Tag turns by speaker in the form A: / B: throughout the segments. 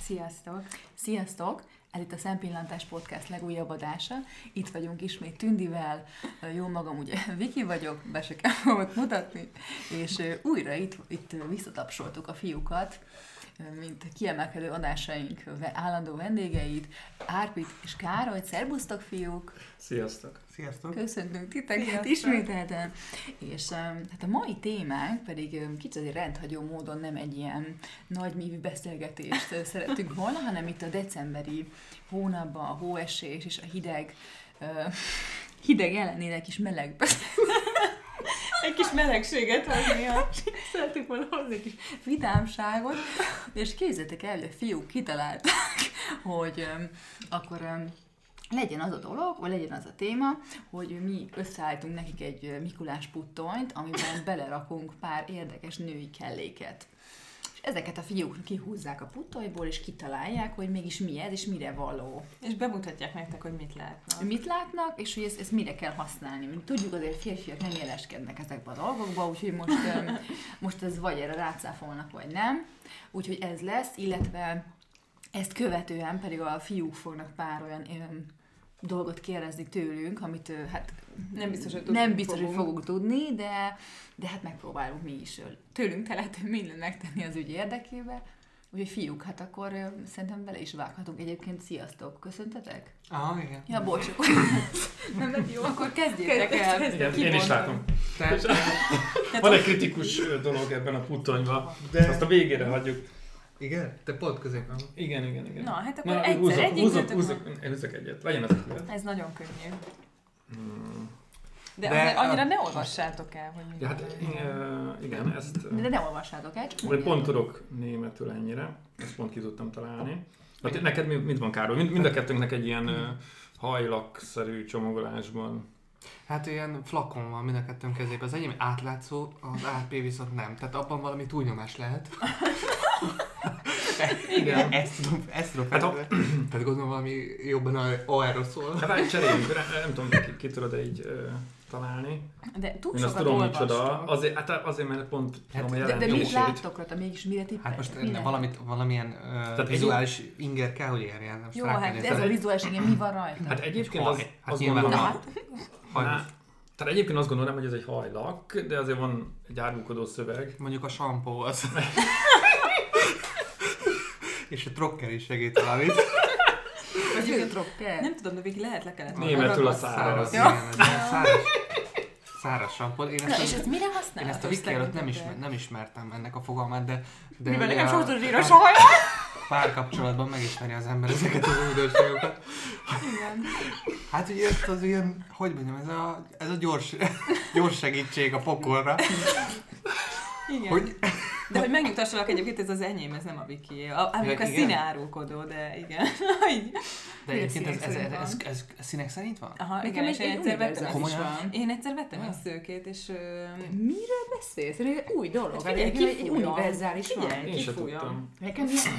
A: Sziasztok!
B: Sziasztok! Ez itt a Szempillantás Podcast legújabb adása. Itt vagyunk ismét Tündivel, jó magam ugye Viki vagyok, be se kell magamot mutatni, és újra itt, itt visszatapsoltuk a fiúkat, mint kiemelkedő adásaink állandó vendégeit, Árpit és Károlyt. Szerbusztok, fiúk!
C: Sziasztok!
D: Sziasztok!
B: Köszöntünk titeket Sziasztok. ismételten! És hát a mai témánk pedig kicsit azért rendhagyó módon nem egy ilyen nagy mívű beszélgetést szerettünk volna, hanem itt a decemberi hónapban a hóesés és a hideg hideg ellenére kis meleg
A: egy kis melegséget hozni,
B: szerettük volna hozni egy kis vidámságot, és képzeljétek el, hogy a fiúk kitalálták, hogy um, akkor um, legyen az a dolog, vagy legyen az a téma, hogy mi összeállítunk nekik egy Mikulás puttonyt, amiben belerakunk pár érdekes női kelléket. És ezeket a fiúk kihúzzák a puttonyból, és kitalálják, hogy mégis mi ez, és mire való.
A: És bemutatják nektek, hogy mit látnak.
B: Mit látnak, és hogy ezt, ezt mire kell használni. Tudjuk azért, férfiak nem jeleskednek ezekben a dolgokba, úgyhogy most, most ez vagy erre rácáfolnak, vagy nem. Úgyhogy ez lesz, illetve ezt követően pedig a fiúk fognak pár olyan dolgot kérdezni tőlünk, amit hát
A: nem biztos, hogy,
B: nem biztos, fogunk. hogy fogunk tudni, de, de hát megpróbálunk mi is tőlünk telhető mindent megtenni az ügy érdekébe. Úgyhogy fiúk, hát akkor szerintem bele is vághatunk. Egyébként sziasztok, köszöntetek?
D: Ah, igen.
B: Ja, bocs, akkor...
A: nem, nem jó.
B: Akkor kezdjétek el.
C: Igen, én is látom. Tehát,
A: Hát
C: van egy kritikus dolog ebben a puttonyban, de azt a végére hagyjuk.
D: Igen? Te pont középen
C: Igen, igen, igen.
A: Na, hát akkor Na, egyszer húzok, egyik
C: húzok, húzok, húzok, egyet. Legyen az
A: egyet. Ez nagyon könnyű. Hmm. De, de azért annyira a... ne olvassátok el, hogy mi
C: hát, e, igen, ezt...
B: De ne olvassátok el, csak...
C: Én pont tudok németül ennyire, ezt pont ki tudtam találni. Hát neked mi, mit van, Károly? Mind, mind a kettőnknek egy ilyen hmm. hajlakszerű csomagolásban
D: Hát ilyen flakon van mind a kettőnk kezében. Az enyém átlátszó, az AP viszont nem. Tehát abban valami túlnyomás lehet. Igen. Ezt tudom, ezt tudom. Hát, a... Tehát gondolom valami jobban arról szól.
C: Hát várj, cseréljünk, nem tudom, ki, ki tudod így uh, találni.
A: De túl Én azt tudom, micsoda.
C: Azért, hát azért, mert pont
B: hát, tudom, de, de mit láttok rajta, mégis mire tippeltek?
D: Hát most Minden? valamit, valamilyen uh, Tehát vizuális egy... inger kell, hogy érjen.
B: Jó, hát ez a vizuális inger, mi van rajta?
C: Hát egyébként az, hát azt gondolom, hát... Tehát egyébként azt gondolom, hogy ez egy hajlak, de azért van egy árulkodó szöveg.
D: Mondjuk a sampó az. És a trokker is segít valamit.
A: Vagy a trokker? Nem tudom, de végig lehet le kellett
C: Németül a száraz.
D: Ja. Száraz. Száraz sampon.
A: Én ezt, Na, és ezt mire használod?
D: Én ezt a whisky előtt nem, ismer, nem ismertem ennek a fogalmát, de... de
A: Mivel nekem sokszor
D: Hát,
A: zsíros a hajam?
D: Párkapcsolatban megismeri az ember ezeket az újdonságokat.
A: Igen.
D: Hát ugye ezt az ilyen, hogy mondjam, ez a, ez a gyors, gyors segítség a pokolra.
A: Igen. Hogy, de hogy megnyugtassalak egyébként, ez az enyém, ez nem a Viki. A, mondjuk a színe árulkodó, de igen.
D: de egyébként ez, ez, ez, ez, ez, ez, színek szerint van?
A: Aha, Nekem igen, és én egyszer vettem, ez is van. Én egyszer vettem egy szőkét, és...
B: Miről beszélsz? Ez új dolog. Hát, egy, egy univerzális van.
C: Én sem tudtam.
B: Nekem ilyen...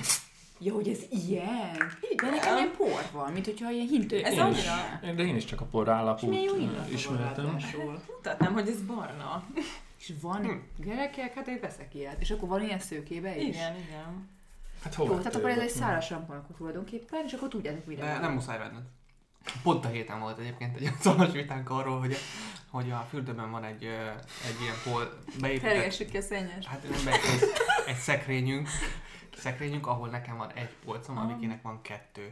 B: Ja, hogy ez ilyen. Igen. De nekem ilyen por van, mint hogyha ilyen hintő.
A: Ez annyira.
C: De én is csak a por állapot ismertem.
A: Mutatnám, hogy ez barna.
B: És van hm. gyerekek, hát én veszek ilyet. És akkor van ilyen szőkébe is?
A: Igen, igen.
C: Hát
B: Jó, tehát akkor ez egy száraz sampanakot tulajdonképpen, és akkor tudjátok, mire
D: De nem muszáj venned. Pont a héten volt egyébként egy szoros vitánk arról, hogy, hogy a fürdőben van egy, egy ilyen pol
A: beépített... Felgessük ki a szennyes.
D: Hát nem beépített, egy szekrényünk, szekrényünk, ahol nekem van egy polcom, ah. amikének van kettő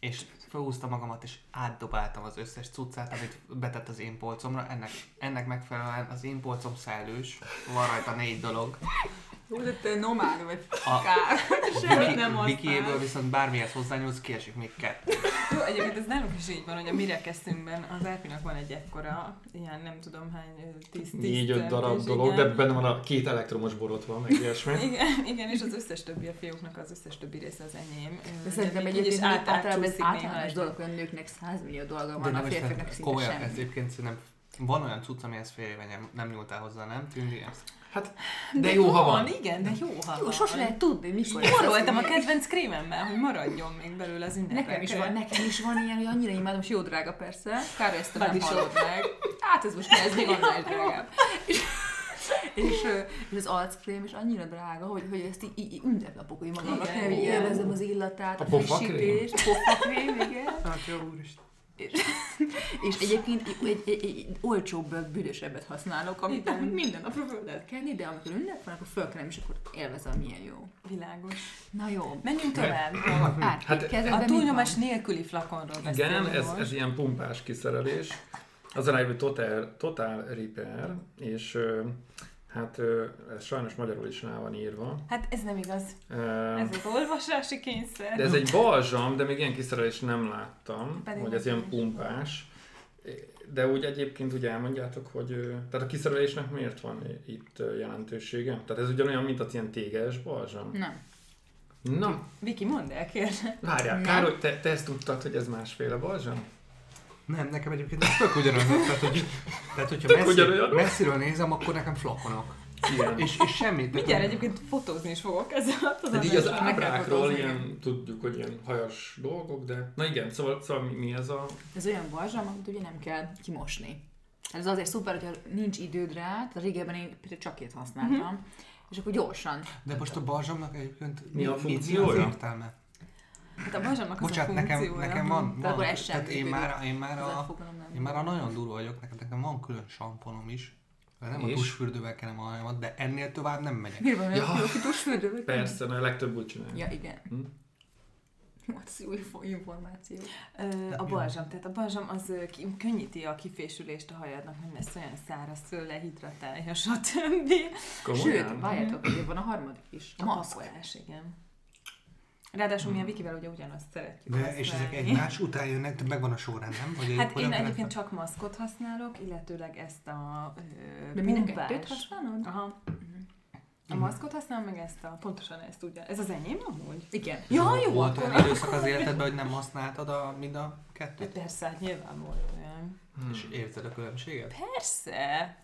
D: és felhúztam magamat, és átdobáltam az összes cuccát, amit betett az én polcomra. Ennek, ennek megfelelően az én polcom szellős, van rajta négy dolog.
A: Jó, de te nomád vagy a, kár, semmit nem használ.
D: Vikéből viszont bármihez hozzányúlsz, kiesik még kettő.
A: Jó, egyébként ez nálunk is így van, hogy a mire kezdtünkben az Árpinak van egy ekkora, ilyen nem tudom hány, tíz, tíz
C: Négy-öt darab dolog, igen. de benne van a két elektromos borot van, meg ilyesmi.
A: igen, igen, és az összes többi a fiúknak, az összes többi része az enyém.
B: De szerintem egyébként át, általában ez általános dolog, hogy a nőknek százmillió dolga van, a férfiaknak szinte
D: hát komolyan, semmi. egyébként szerintem van olyan cucc, amihez fél éve nem, nem nyúltál hozzá, nem? Tűndi
C: Hát, de, de jó, ha van.
A: Igen, de jó, ha
B: jó, van. Sose lehet tudni, mikor
A: Moroltam a kedvenc krémemmel, hogy maradjon még belőle az ünnepek.
B: Nekem is van, nekem is van ilyen, hogy annyira imádom, és jó drága Hát persze. Kár, ezt nem hallod meg. Hát ez most ne, ez még annál drágább. És, és, ö, és az arckrém is annyira drága, hogy, hogy ezt így, így, így ünneplapok, hogy magamra
A: Igen.
B: kell, hogy élvezem az illatát,
C: A
B: a,
C: pofakrém?
B: frissítést, pofakrém, igen.
D: Hát jó úristen.
B: És egyébként egy, egy, egy, egy olcsóbb, büdösebbet használok, amit
A: Igen.
B: minden nap földön kenni, de amikor ünnep van, akkor fölkenem, és akkor élvezem, milyen jó.
A: Világos.
B: Na jó.
A: Menjünk tovább.
B: Át,
C: Hát,
B: hát, kezedben
A: A
B: mit
A: túlnyomás
B: van?
A: nélküli flakonról
C: Igen,
A: beszélünk
C: ez,
A: most.
C: ez ilyen pumpás kiszerelés. Az a neve, hogy Total, Total Repair, és ö, hát ö, ez sajnos magyarul is rá van írva.
A: Hát ez nem igaz.
C: Ö,
A: Ez az olvasási kényszer.
C: De ez egy balzsam, de még ilyen kiszerelést nem láttam,
A: Pedig
C: hogy ez
A: nekem
C: ilyen
A: is.
C: pumpás. De úgy egyébként úgy elmondjátok, hogy ö, tehát a kiszerelésnek miért van i- itt ö, jelentősége? Tehát ez ugyanolyan, mint az ilyen téges balzsam.
B: Nem.
C: Na,
A: Viki, mondd el, kérlek.
C: várjál,
B: Nem.
C: Károly, te, te ezt tudtad, hogy ez másféle balzsam?
D: Nem, nekem egyébként ez tök ugyanaz. Tehát, hogy, tehát hogyha
C: Tök
D: messziről,
C: ugyanolyan.
D: messziről nézem, akkor nekem flakonok.
C: Igen.
D: És, és semmit.
A: Mindjárt egyébként fotózni is fogok ezzel.
C: Hát
A: Tudod,
C: így az
A: meg kell
C: ábrákról
A: fotózni.
C: ilyen, tudjuk, hogy ilyen hajas dolgok, de... Na igen, szóval, szóval mi, mi ez a...
B: Ez olyan balzsam, amit ugye nem kell kimosni. Ez azért szuper, hogyha nincs időd rá, tehát régebben én például csak ilyet használtam,
A: Mhm.
B: és akkor gyorsan.
D: De most a balzsamnak egyébként
C: Mi a
D: mit- Mi
C: funkciója?
D: az értelme?
A: Hát a balzsamnak az a
D: Bocsánat, nekem,
A: funkciója.
D: nekem van,
B: De
D: van.
B: akkor ez sem
D: Tehát én
B: működik.
D: már, én már
B: Ez a
D: a,
B: fogalom nem.
D: én már a nagyon durva vagyok, nekem, nekem van külön samponom is. De nem
C: És?
D: a tusfürdővel kellem a hajamat, de ennél tovább nem megyek.
B: Miért van
C: Ja.
B: olyan fiókítós fürdő?
C: Persze, mert a legtöbb úgy csinálja.
B: Ja, igen.
C: Hm?
B: Jó, ez jó info- információ.
A: Ö, A
D: mi
A: balzsam, tehát a balzsam az ö, ki- könnyíti a kifésülést a hajadnak, nem lesz olyan száraz, föl lehidratálja, stb.
B: Sőt,
C: Komolyan?
B: várjátok, hogy van a harmadik is.
A: A pakolás, igen. Ráadásul mi a Vikivel ugye ugyanazt szeretjük
D: Hmm. De, és ezek
A: használni.
D: egymás után jönnek, de megvan a sorrend, nem? Vagy
A: Hát
D: hogyan
A: én
D: kell
A: egyébként
D: ezt-
A: csak maszkot használok, illetőleg ezt a ö,
B: De mind a
A: pumpás-
B: kettőt használod?
A: Aha. A
D: Mhm.
A: maszkot használom, meg ezt a, pontosan ezt ugyan. Ez az enyém amúgy?
B: Igen.
A: Ja, jó,
D: Volt
A: akkor.
D: olyan időszak az életedben, hogy nem használtad a, mind a kettőt?
A: Persze, hát nyilván volt olyan.
C: Hmm.
D: És érzed a különbséget?
A: Persze.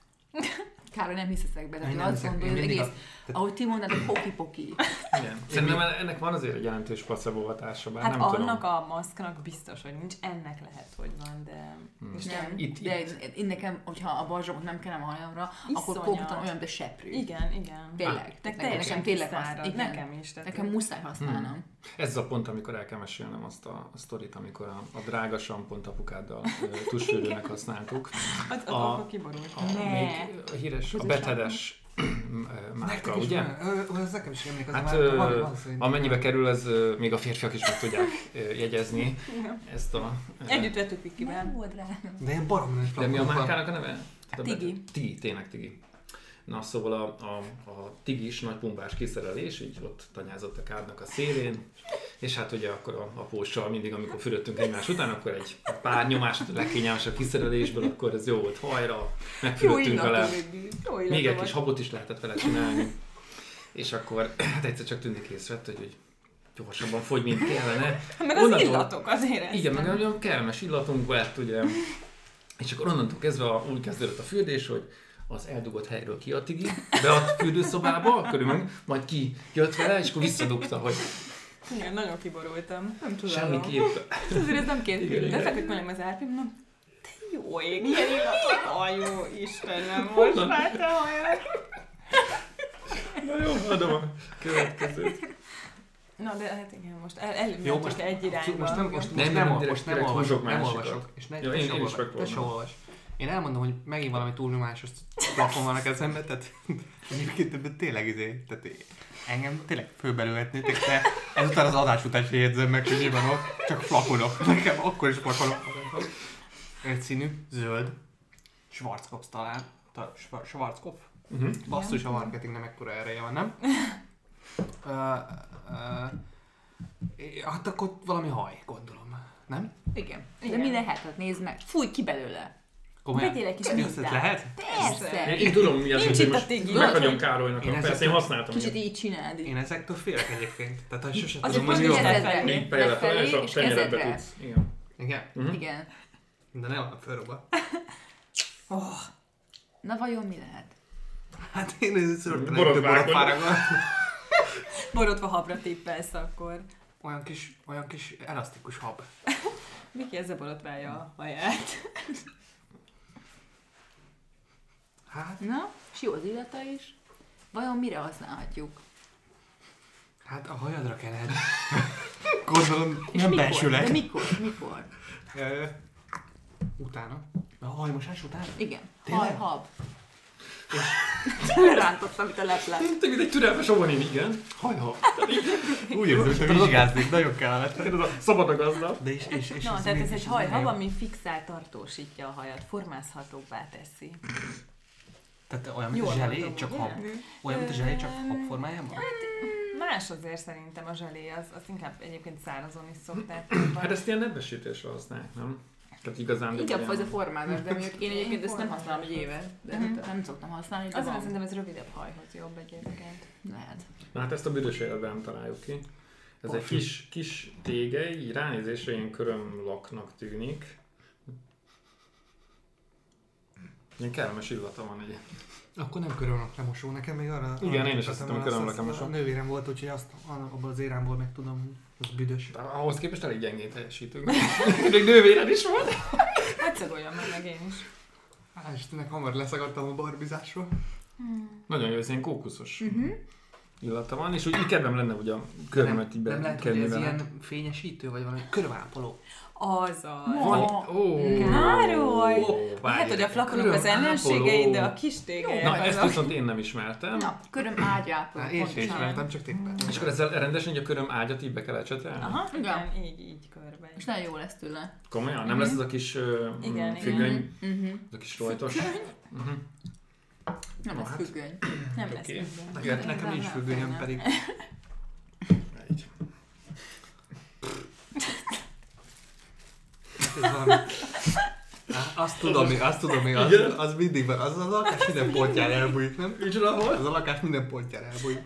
B: Károly, nem hisz ezekbe, de
D: Én
B: te
D: nem
B: azt
D: hiszek,
B: gondolod,
D: én
B: hogy
D: mindig
B: egész, ahogy ti mondnád, hogy poki-poki.
C: Igen. Szerintem ennek van azért egy jelentős placebo hatása, bár
A: Hát
C: nem
A: annak
C: tudom.
A: a maszknak biztos, hogy nincs, ennek lehet, hogy van, de...
C: Hmm.
A: És
B: Nem,
A: nem.
C: Itt-
B: de én, én nekem, hogyha a balzsamot nem kellem a hajamra, akkor
A: Iszonyat.
B: konkrétan olyan, mint a seprű.
A: Igen, igen.
B: Tényleg.
A: Te
B: Nekem- nekem tényleg
A: teljesen tényleg
B: van.
A: szárad.
B: Igen.
A: Nekem is. Tehát
B: Nekem muszáj használnom.
D: Hm.
C: Ez az a pont, amikor el kell mesélnem azt a, a sztorit, amikor a, a drága sampont apukáddal ö, tusfürdőnek használtuk.
A: Ott, ott
C: a-
A: akkor kiborult.
C: A,
B: Ne.
C: még a híres, a
B: Közös
C: betedes ö, márka,
D: Nektek is
C: ugye?
D: van? Ö, ö, Ez nekem is emlékezem.
C: Hát
D: már van-
C: ö,
D: van szerintem.
C: amennyibe kerül, ez ö, még a férfiak is meg tudják ö, jegyezni
A: Igen.
C: ezt a... ö,
A: Együtt vettük Vikivel.
B: Nem volt rá.
D: De ilyen barom nem
C: De mi a
D: flakonok van.
C: márkának a neve?
A: Hát Tigi.
C: Tigi, tényleg Tigi. Na, szóval a, a, a tigis nagy pumpás kiszerelés, így ott tanyázott a kádnak a szélén, és hát ugye akkor a apóssal mindig, amikor fürödtünk egymás után, akkor egy pár nyomást a legkényelmesebb kiszerelésből, akkor ez jó volt hajra,
B: Jó
C: megfürödtünk vele,
B: illatú végül.
A: Jó illata
C: még egy
A: volt.
C: kis habot is lehetett vele csinálni, és akkor hát egyszer csak tűnik észrevett, hogy, hogy gyorsabban fogy, mint kellene,
A: Meg az
C: onnantól-
A: illatok azért.
C: igen, meg olyan kellemes illatunk lett, ugye. És akkor onnantól kezdve a- úgy kezdődött a fürdés, hogy az eldugott helyről kiadtig, be a fürdőszobába, körülbelül majd ki jött vele, és akkor visszadugta, hogy
A: Igen, nagyon kiborultam. Nem tudom.
C: semmiképp.
A: Azért ez nem két
C: Igen,
A: film.
C: igen.
A: De feküdt mellém az árpim, mondom, te jó ég, milyen illatok. A jó Istenem, most
C: Honnan?
A: már te olyan.
C: Na jó, adom a következőt.
A: Na de hát igen, most el, elmentünk
D: Jó, most
A: egy irányba.
D: Most nem, most, most
C: Nem,
D: nem,
C: nem,
D: ol-
C: direkt-
D: most nem
C: direkt
D: olvasok,
C: húzok
D: nem
C: másikat.
D: olvasok. És ne,
C: Jó,
D: te
C: én-
D: se
C: én is
D: olvasok, te se
C: megpróbálom.
D: olvas. Én elmondom, hogy megint valami túlnyomásos plafon van a kezemben, tehát egyébként ebben tényleg izé, tehát engem tényleg főbelőhetnétek, de ezután az adás után se jegyzem meg, hogy mi van ott, csak flakonok. Nekem akkor is flakonok. Egy színű, zöld, Schwarzkopf talán. Ta, Schwa- Schwarzkopf?
C: Mhm.
D: Basszus, a marketingnek mekkora ereje van, nem? Ö, ö, Hát akkor valami haj, gondolom. Nem?
B: Igen. De
A: Igen.
B: minden hetet nézd meg. Fúj ki belőle. Vegyél egy kis
D: Ezt
B: mintát.
D: lehet?
B: Persze.
C: Én, én tudom, mi az,
A: Nincs
C: hogy
A: itt a
C: most
A: tigi.
C: megadjam Károlynak.
D: Én
C: a- Persze,
D: ezeket-
C: én használtam.
B: Kicsit
C: ilyet.
B: így csináld. így.
D: Én ezektől félek egyébként. Tehát hogy sose
A: Azért
D: tudom,
A: most
D: hogy mi
A: így
D: van.
A: ezzel-
B: Kezedre.
C: Így fejjel fel,
B: Lefelé
C: és a
B: és
C: kenyeredbe
B: kezedre.
C: tudsz. Igen.
D: Igen,
C: Mhm.
B: Igen.
D: de nem a fölroba.
A: Oh,
B: Na vajon mi lehet?
D: Hát én ez szörtelen
C: Borotválkodom.
A: borotva habra tippelsz akkor.
D: Olyan kis, olyan kis elasztikus hab.
A: Miki ezzel borotválja a haját.
D: Hát,
B: Na, és jó az illata is. Vajon mire használhatjuk?
D: Hát a hajadra kered. Gondolom,
B: És
D: nem
B: mikor?
D: belsőleg.
B: De mikor? Mikor?
D: Ö, Utána. A hajmosás után?
B: Igen.
D: Tényleg?
B: Hajhab. Rántottam itt a leplát.
C: Te mint egy türelmes óvonin, igen. Hajha.
D: Úgy érzem, hogy te vizsgáznék, nagyon kellemet.
C: Hát Ez a szabad a gazda.
D: De és, és, és
A: Na, tehát
D: még-
A: ez egy
D: és
A: hajhab,
D: nagyon-
A: ami fixál tartósítja a hajat, formázhatóbbá teszi.
D: Tehát olyan, mint a
A: Jól
D: zselé,
A: mondom,
D: csak
A: hát ugye? Hát,
D: hab. Olyan, mint a zselé, csak hab formájában?
A: Más azért szerintem a zselé, az, az inkább egyébként szárazon is szokták.
C: Hát ezt ilyen nedvesítésre használják, nem? Tehát igazán...
E: Inkább
C: ilyen-
E: az a formában, de mondjuk én egyébként ezt nem
A: Formában.
E: használom egy éve. De hát-
B: Nem,
E: nem
B: nem szoktam használni, de
A: Azon
B: van.
A: Mhm. szerintem ez rövidebb hajhoz jobb egyébként.
B: Lehet.
C: Na hát ezt a büdös életben nem találjuk ki. Ez egy
D: Parfüm.
C: kis, kis tége, így ránézésre ilyen körömlaknak tűnik. Ilyen kellemes illata van egy.
D: Akkor nem körömlak lemosó, nekem még arra...
C: Igen,
D: arra
C: én is
D: jutottam
C: azt hittem,
D: el,
C: körömlak
D: azt-
C: lemosó.
D: A nővérem volt, úgyhogy azt abban az érámból meg tudom, hogy az büdös.
C: De hát ahhoz képest elég gyengén teljesítünk. Még nővéred is volt.
A: Hát szagoljam meg, meg én is.
D: Hál' Istennek, hamar leszakadtam a barbizásról.
C: Nagyon jó, ez ilyen kókuszos
A: Mhm.
C: illata van, és úgy így kedvem lenne, hogy a körömet így
D: Nem, nem lehet, hogy
C: kenni
D: ez
C: vele.
D: ilyen fényesítő, vagy valami körvápoló.
A: Az az.
B: Van.
C: Van- Ó,
A: Károly!
C: várj.
A: Lehet, hogy a flakonok az
C: Körömápoló.
A: ellenségeid, de a kis téged.
C: Na, ezt viszont én nem ismertem.
B: Na, köröm ágyápoló.
D: Na, én sem
B: pontosan.
D: ismertem, csak tippet.
C: És akkor ezzel rendesen így a köröm ágyat így be kell ecsetelni?
A: Aha,
B: Igen.
A: igen, így, így körbe.
B: És nagyon jó lesz tőle.
C: Komolyan? Nem lesz ez a kis ö, m,
A: Igen,
C: függöny?
B: Mhm.
C: Ez a kis rojtos? Mhm.
B: Nem
C: Na
B: lesz
C: hát.
B: függöny.
A: Nem lesz
C: Oké.
A: minden.
D: Nekem, nekem
B: Nem,
D: nincs
B: nem,
D: függönyöm,
B: nem.
D: pedig
C: Így.
D: Hát ez valami... Á, Azt tudom én, azt tudom én, az,
C: Igen?
D: az mindig van, az a lakás minden pontján elbújik, nem?
C: Micsoda volt?
D: Az a lakás minden pontján elbújik.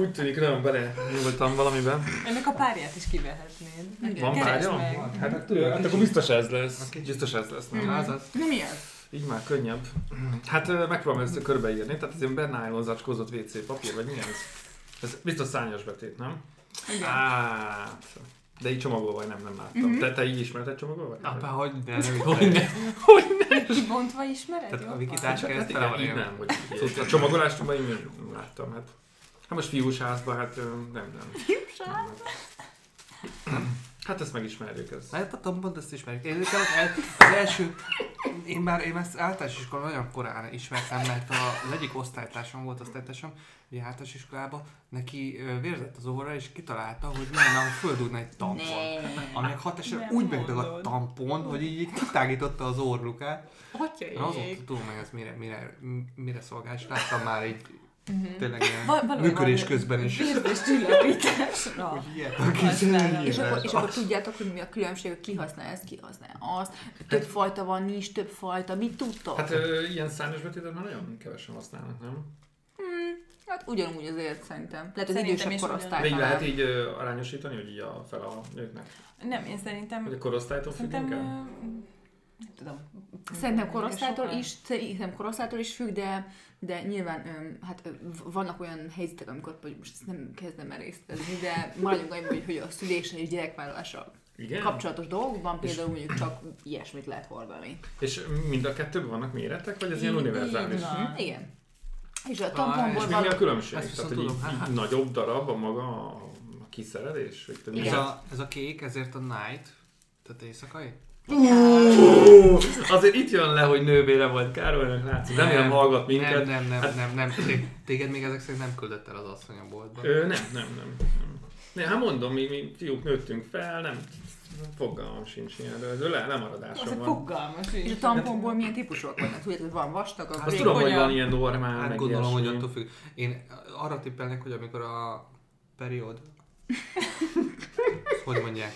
C: Úgy tűnik, nagyon bele nyugodtam valamiben.
A: Ennek a párját is kivehetnéd.
B: Igen.
C: Van
A: Keresd
C: párja?
A: meg. Mhm.
C: Hát, hát, tudod, hát akkor biztos ez lesz. Biztos ez lesz. Nem? Hát,
D: Az az.
B: Na mi az?
C: Így már könnyebb. Hát ö, megpróbálom ezt körbeírni. Tehát ez ilyen bennájlon zacskózott WC papír, vagy mi ez? Ez biztos szányos betét, nem? Igen. Hát, de így csomagolva vagy nem, nem láttam.
A: Mhm.
C: Te, te így ismerted csomagolva?
D: Apa, hogy de nem hogy ne.
A: Kibontva ismered?
D: Tehát a
A: jobban?
D: vikitás-
C: Hát
D: Ezt
C: igen,
D: tele van
C: így
D: ilyen.
C: nem, hogy így- a csomagolást én nem láttam. Hát, hát most fiús házba, hát ö, nem, nem. Fiús Hát ezt megismerjük, ez.
D: Hát a tombont ezt ismerjük. Én nekem az első... Én már én ezt általános iskolában nagyon korán ismertem, mert a, az egyik osztálytársam volt osztálytársam, ugye általános iskolában, neki ö, vérzett az óra, és kitalálta, hogy milyen a földúrna egy tampon. Aminek hatására
A: Nem
D: úgy megdagadt a
A: mondod.
D: tampon, hogy így kitágította az orrukát. Na,
E: Atyaék.
D: azóta tudom, hogy ez mire, mire, mire szolgál, és láttam már így
A: Mhm.
D: tényleg
A: Val-
D: ilyen
A: valójában
D: műkörés közben is.
A: Vérzés csillapításra.
D: Hogy ilyet, aki
A: Használom.
B: És akkor, és akkor tudjátok, hogy mi a különbség, hogy ki használ ezt, ki használ azt. Több fajta van, nincs több fajta, mit tudtok?
C: Hát
B: Hát,
C: ö, ilyen szányos betétet már nagyon kevesen használnak, nem?
B: Hát ugyanúgy azért szerintem. Lehet az
A: Szerintem
B: idősebb
A: is
B: korosztály
C: De így lehet
B: Hát talán.
C: így ö, arányosítani, hogy így a, fel a nőknek,
A: Nem, én
C: hogy
A: szerintem...
C: a korosztálytól
A: Szerintem...
C: függünk
A: ö,
C: el?
A: Nem tudom.
B: Szerintem korosztálytól
A: Sokan.
B: is, szerintem korosztálytól is függ, de, de nyilván öm, hát ö, v- vannak olyan helyzetek, amikor hogy most ezt nem kezdem el részletezni, de maradjunk annyiban, hogy, hogy a szüléssel és gyerekvállalással
C: Igen?
B: kapcsolatos dolgokban például mondjuk csak ilyesmit lehet hordani.
C: És mind a kettőben vannak méretek, vagy ez ilyen
A: Így-
C: univerzális?
A: így van.
B: Hm? Igen. És a
D: és
B: tamponból
C: És mi mi
B: való...
C: a különbség?
D: Ezt
C: Tehát,
D: viszont
C: hogy így,
D: tudom, hát-
C: így nagyobb darab a maga a a kiszerelés? Vagy te mi
D: Ez
C: az?
D: a, ez a kék, ezért a night, tehát éjszakai?
C: Ó, Azért itt jön le, hogy nővére volt Károlynak, látszik. Remélem hallgat minket.
D: Nem, nem, nem, nem, nem. Té- Téged még ezek szerint nem küldött el az asszony a boltba.
C: Ö, nem, nem, nem. nem. Ne, hát mondom, mi, mi fiúk nőttünk fel, nem, fogalmam sincs ilyen, ez le,
A: Az
C: lemaradásom
A: egy
C: van.
A: fogalmas
B: És
A: is.
B: a tamponból milyen típusok vannak? Tudjátok, van vastag, a
C: Azt tudom, hogy
A: Vékonyan.
C: van ilyen normál,
D: Hát
C: meg
D: gondolom, hogy
C: ilyesmi.
D: attól függ. Én arra tippelnek, hogy amikor a period... Ezt hogy mondják?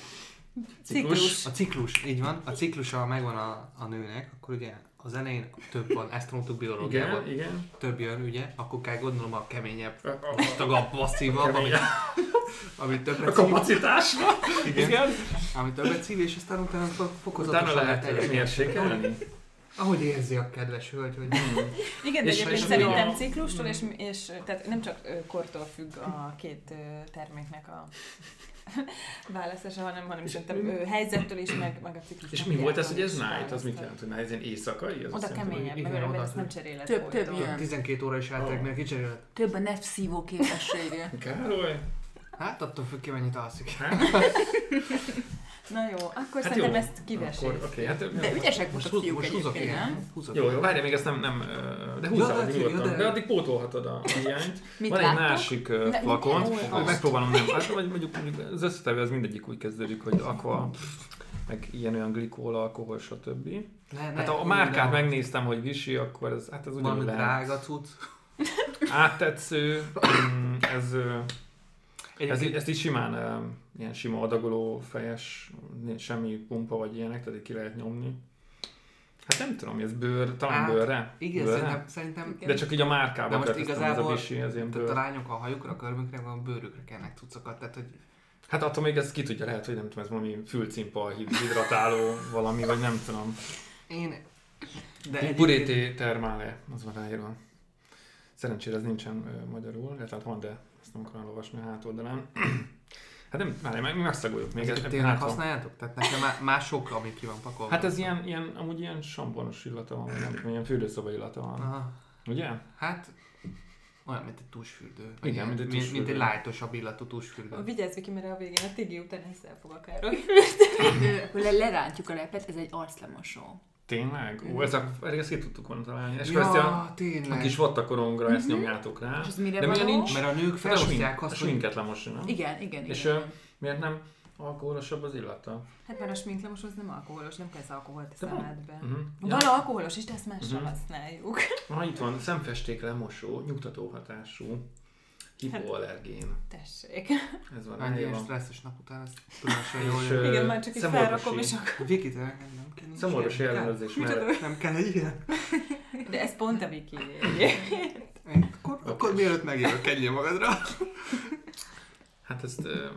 A: Ciklus.
D: A ciklus, így van. A ciklusa megvan a, a nőnek, akkor ugye az elején több van, ezt tanultuk biológiában,
C: Igen, igen.
D: több jön, ugye, akkor kell gondolom a keményebb,
C: A- a-
D: vastagabb, masszívabb, ami,
C: Keményebb.
D: ami
C: A
D: többet szív,
C: kapacitásra.
D: igen, ami többet szív, és aztán utána fo-
C: Utána
D: fokozatosan
C: lehet
D: egyre
C: egy mérsékelni. Hmm.
D: Ahogy érzi a kedves hölgy, hogy
A: Igen, de
C: És-
A: egyébként
C: és
A: szerintem
C: ugye-
A: ciklustól, és, és tehát nem csak ö, kortól függ a két ö, terméknek a választása, hanem, hanem szerintem ő helyzettől is, meg, meg a ciklus.
C: És mi volt ez, hogy ez night? Az mit jelent, hogy night? Ez ilyen éjszakai? Az
A: Oda
C: azt jelenti,
A: keményebb,
D: hogy
A: meg
D: igen,
A: mert
D: oda-
A: ezt nem cseréled.
B: Több-
A: folyton.
B: több ilyen.
D: 12 óra is eltelik, mert kicseréled.
B: Több a nevszívó képessége.
C: hogy Károly?
D: Hát attól függ ki, mennyit alszik.
C: Hát,
A: Na jó, akkor
C: hát
A: szerintem
C: jó.
A: ezt kiveséljük.
C: Akkor, oké, hát
B: De ügyesek most a
D: húz-
B: fiúk
D: húzok
B: egyébként,
D: én.
B: nem?
D: Húzok
C: Jó,
D: én.
C: jó, várj, még ezt nem, nem, ö, de húzzál,
D: Ja,
C: ja,
D: de-
C: nyugodtan. De,
D: ja, de-
C: addig pótolhatod a a hiányt.
B: Mit
C: Van
B: láttok?
C: egy másik ö,
B: Ne-
C: flakon,
B: mit olvastok?
C: hogy megpróbálom nem, hát, vagy mondjuk, mondjuk az összetevő az mindegyik úgy kezdődik, hogy aqua, meg ilyen-olyan glikól, alkohol, stb.
D: Ne, ne,
C: Hát a, a
D: hú,
C: márkát
D: de-
C: megnéztem, hogy visi, akkor ez, hát ez
D: Valami
C: ugyanúgy lehet.
D: drága cucc.
C: Áttetsző, mm, ez, ö, ez,
D: Egyébként-
C: í- ezt így simán ö, ilyen sima adagoló fejes, nincs semmi pumpa vagy ilyenek, tehát így ki lehet nyomni. Hát nem tudom, ez bőr, talán
D: Hát,
C: bőrre?
D: Igen,
C: bőrre?
D: szerintem, szerintem
C: De csak így a
D: De
C: márkába
D: most
C: tettem, ez a
D: igazából-
C: visi, ez ilyen
D: tehát a
C: bőr.
D: lányok a hajukra, a körmükre, meg a bőrükre kennek cuccokat. Tehát, hogy
C: Hát attól még ez ki tudja, lehet, hogy nem tudom, ez valami fülcimpal hid- hidratáló valami, vagy nem tudom.
D: én... De
C: De Purété termále, az van ráírva. Szerencsére ez nincsen ö, magyarul, illetve hát van, de ezt nem akarom olvasni a hátoldalán. hát nem, várj, meg, mi megszagoljuk még.
D: Ezeket
C: ezt-
D: tényleg
C: látom.
D: használjátok? Tehát nekem már, már sok, ami ki van pakolva.
C: Hát ez ilyen, ilyen, amúgy ilyen sambonos illata van, vagy nem tudom, ilyen fürdőszoba illata van.
D: Aha.
C: Ugye?
D: Hát olyan, mint egy tusfürdő.
C: Igen,
D: Ilyen,
C: mint egy tusfürdő.
D: Mint egy lájtosabb illatú tusfürdő.
A: Vigyázz, Viki, mert a végén a Tigi után hiszel fog akár.
B: Ö, Akkor le- lerántjuk a lepet, ez egy arclemosó.
C: Tényleg? Ó, ez a, pedig ezt ki tudtuk volna találni. És ja. ezt a,
D: Ja, tényleg. Mhm.
C: a kis vattakorongra ezt nyomjátok rá.
B: És ez mire
C: De
B: való?
C: milyen nincs?
D: Mert a nők
C: Hát a
D: felosztják
C: smink, a
D: azt, hogy
C: sminket lemosni, nem?
B: Igen, igen, igen.
C: És ö, miért nem alkoholosabb az illata?
A: Hát már a sminklamos az nem alkoholos, nem kezd alkoholt a
C: De van.
A: szemedbe.
C: Uh-huh.
A: Van alkoholos is, de ezt mással
C: Mhm.
A: használjuk.
C: Na, itt van, szemfesték lemosó, nyugtató hatású, hipoallergén.
A: Tessék.
C: Ez van
D: egy ilyen
C: ráírva.
D: stresszes nap után ezt tudomással
C: És,
D: jól
C: ö,
D: jön.
A: Igen, már csak így
C: szemorvosi.
A: felrakom, és akkor...
D: Viki, te nekem nem kell. nincs
C: Szomorús
D: ilyen.
C: ellenőrzés
D: Kell?
C: mellett.
D: Nem kell egy ilyen.
A: De ez pont a Viki.
D: Én- Akkor, akkor mielőtt megjövök, kenjél magadra.
C: Hát ezt... ö, Ezt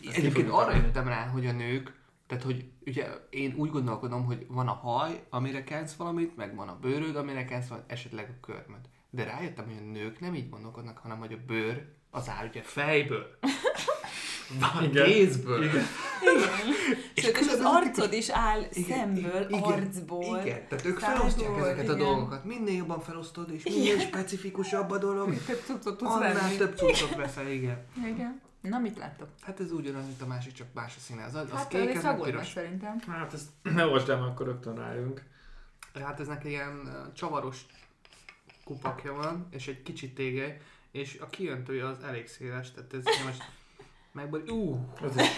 C: ki
D: Egyébként
C: fogjuk
D: arra
C: találni.
D: jöttem rá, hogy a nők, tehát hogy ugye én úgy gondolkodom, hogy van a haj, amire kensz valamit, meg van a bőröd, amire kensz valamit, esetleg a körmöd. De rájöttem, hogy a nők nem így gondolkodnak, hanem hogy a bőr az áll ugye fejből, a
C: Igen.
D: kézből.
C: Igen.
A: Sőt, és az
D: közben-
A: arcod is áll szemből,
D: igen,
A: arcból.
D: Igen, tehát ők
A: szájból,
D: felosztják ezeket a
A: igen.
D: dolgokat. Minél jobban felosztod, és minél specifikusabb a dolog,
A: Több cuccot tudsz
D: annál
A: venni.
D: több cuccot veszel, igen.
B: Igen. Na, mit láttok?
D: Hát ez ugyanaz, mint a másik, csak más a színe. Az, az
B: Hát,
D: kék,
B: ez
D: ez meg
B: szagolnak
D: piros.
B: szerintem.
C: Hát ezt ne olvasd el, mert akkor rögtön rájövünk.
D: Hát eznek ilyen ö, csavaros kupakja van, és egy kicsit tégely, és a kijöntője az elég széles, tehát ez most megbor... Ú,
C: Ez is-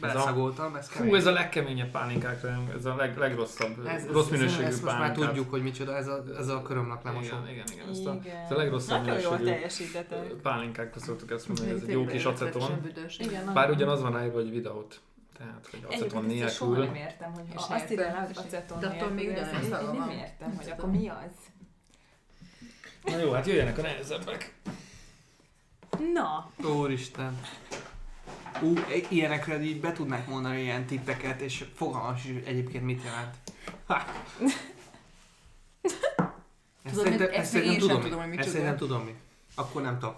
D: beleszagoltam, ez kemény.
C: Fú, ez a legkeményebb pálinkákra, ez a leg, legrosszabb,
D: Ez- ez-
C: rossz
D: ez-
C: minőségű
D: Ezt most már
C: pálinkát.
D: tudjuk, hogy micsoda, ez a, ez a körömlak lemosó.
C: Igen, igen, igen, ezt a,
A: Igen.
C: ez a legrosszabb
A: Nagyon jól
C: minőségű
A: teljesítetek.
C: ö, pálinkákra szoktuk ezt mondani, ez egy jó
B: Tényleg
C: kis
B: rettenetesen
C: aceton.
B: büdös.
A: Igen, nagyon.
C: Bár ugyanaz van ráírva, hogy videót. Tehát, hogy
A: Egyébként
C: aceton
A: ezt én soha
C: nélkül.
A: nem értem, hogy
B: És
A: a- azt írja rá, hogy
B: értem.
A: aceton
B: De attól
A: nélkül,
B: még
A: ez-
B: ugyanaz a
A: én-
B: szaga
A: Én nem
B: van.
A: értem,
B: Nem
A: hogy
B: tudom.
A: akkor mi az.
C: Na jó, hát jöjjenek a nehezebbek.
A: Na,
D: Úristen. Ú, i- ilyenekre így be tudnák mondani ilyen tippeket, és fogalmas is egyébként mit jelent. Ha. Ezt
B: Tudod,
D: szerintem,
B: mit- ezt
D: ezt
B: még
D: szerintem
B: én sem
D: tudom,
B: tudom, hogy
D: mi.
B: micsoda.
D: Ezt szerintem tudom mi. Akkor nem tudom.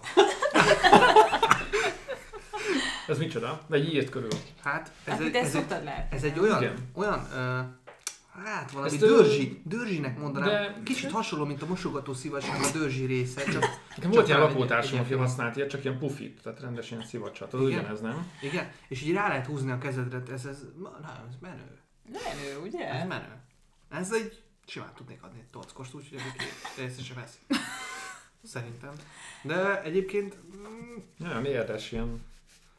C: Ez micsoda? Vagy így írt körül.
D: Hát, ez,
A: hát
D: egy,
A: te ezt
D: ez, egy,
A: szoktad látni.
D: ez egy olyan,
C: Igen.
D: olyan ö, hát valami
C: Ezt,
D: ezt
C: ö,
D: dörzsi, dörzsinek mondanám.
C: de-
D: Kicsit hasonló, mint a mosogató szívasság a dörzsi része, csak
C: Nekem volt ilyen
D: talán egy-
C: lakótársam,
D: egy-
C: aki használt ilyet, csak ilyen pufit, tehát rendes ilyen szivacsat. Az
D: Igen.
C: ugyanez, nem?
D: igen, és így rá lehet húzni a kezedre, ez, ez, na, ez menő.
A: Menő,
D: Ez
A: ugye?
D: menő. Ez egy simán tudnék adni egy tockost, úgyhogy aki észre sem veszi. Szerintem. De egyébként mm,
C: Nagyon érdes, ilyen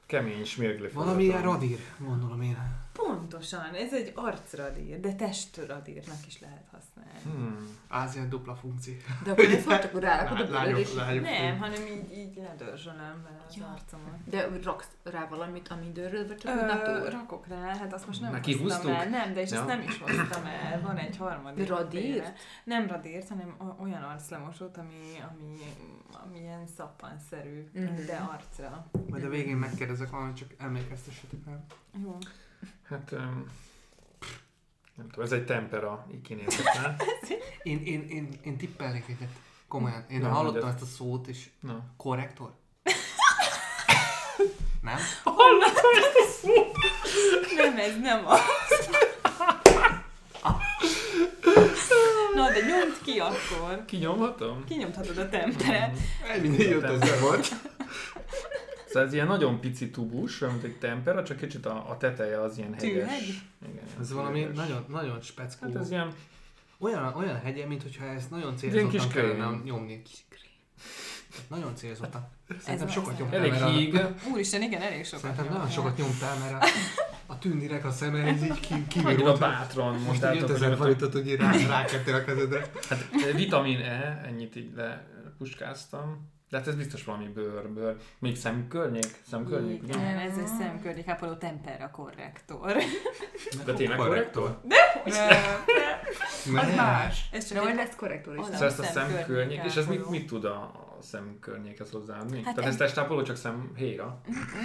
C: kemény smirgli
D: valami ilyen radír, gondolom én.
A: Pontosan, ez egy arcradír, de testradírnak is lehet használni.
D: Hm,
C: Hmm.
D: Ázia dupla funkció.
B: De akkor ezt most akkor rárakod a
D: Lá-
B: bőröd, és...
D: Lányok, lányok.
C: hát-
A: Nem, hanem így, így ledörzsölöm vele az
B: Ja.
A: arcomat.
B: De úgy raksz rá valamit, ami dörröd, vagy csak úgy
A: Ö,
B: natúr?
A: rakok rá, hát azt most nem
C: Már
A: hoztam
C: kihúztuk?
A: el. Nem, de és
C: Ja.
A: ezt nem is hoztam el. Van egy harmadik.
B: De radírt?
A: féle. Nem radírt, hanem o- olyan arclemosót, ami, ami, ami ilyen szappanszerű,
B: Mhm.
A: de arcra.
D: Majd a végén megkérdezek valamit, csak emlékeztessetek rá.
A: Jó.
C: Hát, öm, nem tudom, ez egy tempera, így kinézetlen.
D: Én, én, én, én tippelnék egyet. Komolyan. Én
C: Nem,
D: hallottam
C: mondjad.
D: ezt a szót, és
C: Na,
D: korrektor? Nem?
A: Hallottam ezt a szót? Nem, ez nem az. Na, de nyomd ki akkor.
C: Kinyomhatom?
A: Kinyomhatod a temperet.
D: Mindig jött az be volt.
C: Szóval ez ilyen nagyon pici tubus, olyan, mint egy tempera, csak kicsit a, a teteje az ilyen
A: Tűhegy?
C: hegyes. Igen,
D: Ez valami
C: hegyes.
D: nagyon, nagyon speckó.
C: Hát ez ilyen,
D: Olyan, olyan hegye, mintha ezt nagyon
C: Ilyen
D: célzottan
C: kis
D: kellene
C: krém.
D: nyomni. Hát Nagyon célzottan.
A: Ez
D: Szerintem sokat
A: az.
D: nyomtál,
C: elég
D: mert a-
C: híg.
A: Úristen, igen, elég sokat
D: Szerintem nagyon
A: nyomtál.
D: sokat nyomtál, mert a, a tűndirek a szeme, ez így ki,
C: Annyira
D: kivirult.
C: bátran
D: Most
C: most
D: így 5000 forintot, hogy így rá, rákettél a kezedre.
C: Hát vitamin E, ennyit így lepuskáztam. De hát ez biztos valami bőr, bőr. Még szemkörnyék? Szemkörnyék, ugye?
A: Igen, ez egy szemkörnyékápoló tempera korrektor.
C: De tényleg korrektor?
D: Az
E: más.
A: Ez
E: De
A: csak
E: hogy
A: egy
E: lesz korrektor is.
A: Oda.
C: Szóval ezt a
A: Szemkörnyék
C: szemkörnyék, és ez mit,
A: ápoló.
C: mit tud a, a szemkörnyékhez hozzáadni?
A: Hát
C: Tehát ez
A: egy-
C: testápoló, csak szemhéra?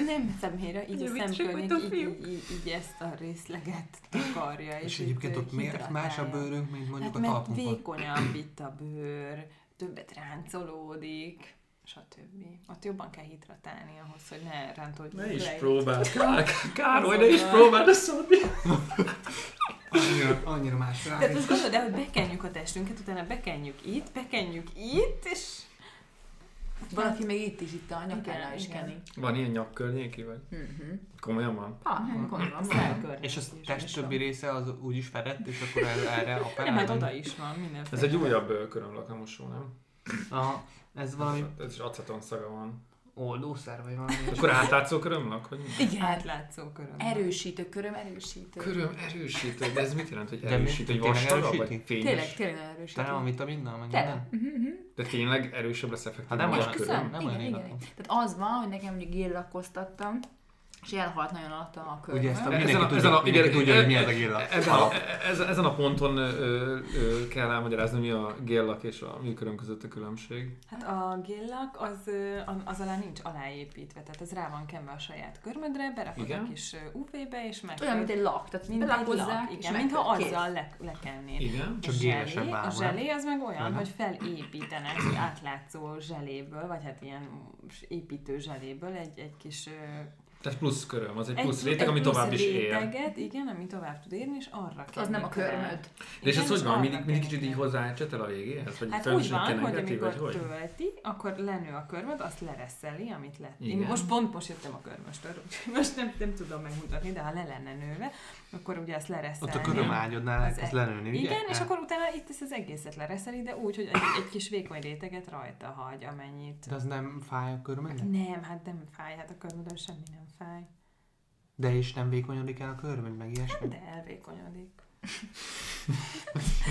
A: Nem szemhéra, így
E: Jó,
A: a
E: mit
A: szemkörnyék
E: csináltam,
A: így,
E: fiúk?
A: így, így, így, ezt a részleget takarja.
D: És egyébként
A: így,
D: ott
A: ö,
D: miért más a
A: hidratálja.
D: bőrünk, mint mondjuk
A: Hát
D: a
A: mert
D: talpunkon?
A: vékonyabb itt a bőr, többet ráncolódik, stb. Ott jobban kell hidratálni ahhoz, hogy ne rántoljuk
C: Ne is
A: le.
C: próbáld, Kár, Károly,
A: Azonnal.
C: ne is próbáld ezt szólni.
D: Annyira, annyira más rá.
A: Tehát most gondolod el, hogy bekenjük a testünket, utána bekenjük itt, bekenjük itt, és...
B: Valaki még itt is, itt a nyakára
A: Igen,
B: is
A: igen.
B: keni.
C: Van ilyen nyakkörnyéki, vagy? Komolyan van?
B: Ah, gondolom.
A: Szelkörnyék
D: És a
A: is,
D: test
A: nem
D: többi
A: is
D: része az úgyis fedett, és akkor el- erre a
A: tudom. Nem, hát oda is van mindenféle.
C: Ez egy újabb ö, körömlak, nem mosó, nem? Hát
D: Aha, ez valami
C: Ez is aceton szaga van.
D: oldószer, vagy valami.
C: Akkor átlátszó körömlak? Hogy mi?
B: Igen.
A: Átlátszó köröm.
B: Erősítő, köröm erősítő.
C: Köröm erősítő, de ez mit jelent, hogy
D: De mi-
C: erősítő? Hogy
D: tényleg
C: vastagabb,
D: erősíti?
C: vagy fényes?
B: Tényleg, tényleg
D: Tele van
B: erősítő.
D: vitaminnal, meg
B: Tele.
D: minden?
C: De tényleg erősebb lesz effektív.
D: Hát nem olyan
B: Mhm, Köszönöm.
D: köröm, nem
B: igen,
D: olyan
B: igen.
D: illatú.
B: Tehát az van, hogy nekem mondjuk géllakoztattam, és elhalt nagyon alatta a köröm.
D: Ugye ezt a
C: Ezen
D: mindenki
C: a-
D: tudja,
C: ezen a-
D: mindenki
C: igen,
D: tudja, hogy mi
C: e-
D: ez a gilla.
C: Ezen a, ezen, ezen a ponton ö, ö, ö, kell elmagyarázni, mi a géllak és a műköröm között a különbség.
A: Hát a gillak az, ö, an- az alá nincs aláépítve, tehát ez rá van kenve a saját körmödre, berakod
C: Igen.
A: a kis ö, UV-be, és meg...
B: Olyan, mint egy lak, tehát
A: mint egy lak,
B: belakozzák, és
A: igen, mintha
B: megköt, kész.
A: azzal le, lekennéd.
C: Igen.
D: Csak
A: A zselé-
D: gélesebb
A: A
D: ábra.
A: zselé az meg olyan,
D: Aha.
A: hogy felépítenek egy átlátszó zseléből, vagy hát ilyen építő zseléből egy, egy kis... ö,
C: Tehát plusz köröm, az egy
A: Egy
C: plusz réteg, ami
A: plusz
C: tovább is él.
A: réteget, igen, ami tovább tud érni, és arra kell.
B: Az nem a körmöd.
C: De és
A: Igen,
C: ez hogy van?
A: arra
C: Mindig, mindig
A: kell
C: kicsit így
A: kenni.
C: hozzácsetel a végéhez? Vagy
A: Hát
C: fel
A: úgy
C: is
A: van, hogy
C: kenegeti,
A: amikor
C: vagy hogy?
A: tölti, akkor lenő a körmöd, azt lereszeli, amit lett. Én
C: Igen.
A: most pont most jöttem a körmöstől, úgyhogy most nem, nem tudom megmutatni, de ha le lenne nőve, akkor ugye azt lereszelni.
D: Ott a körömágyodnál
A: Az
D: elkezd
A: e-
D: lenőni, ugye?
A: Igen, és akkor utána itt ezt az egészet lereszeli, de úgy, hogy egy, egy kis vékony réteget rajta hagy, amennyit.
D: De az nem fáj a körmöd?
A: Nem, hát nem fáj, hát a körmödön semmi nem fáj.
D: De és nem vékonyodik el a körmöd, meg ilyesmi?
A: De elvékonyodik.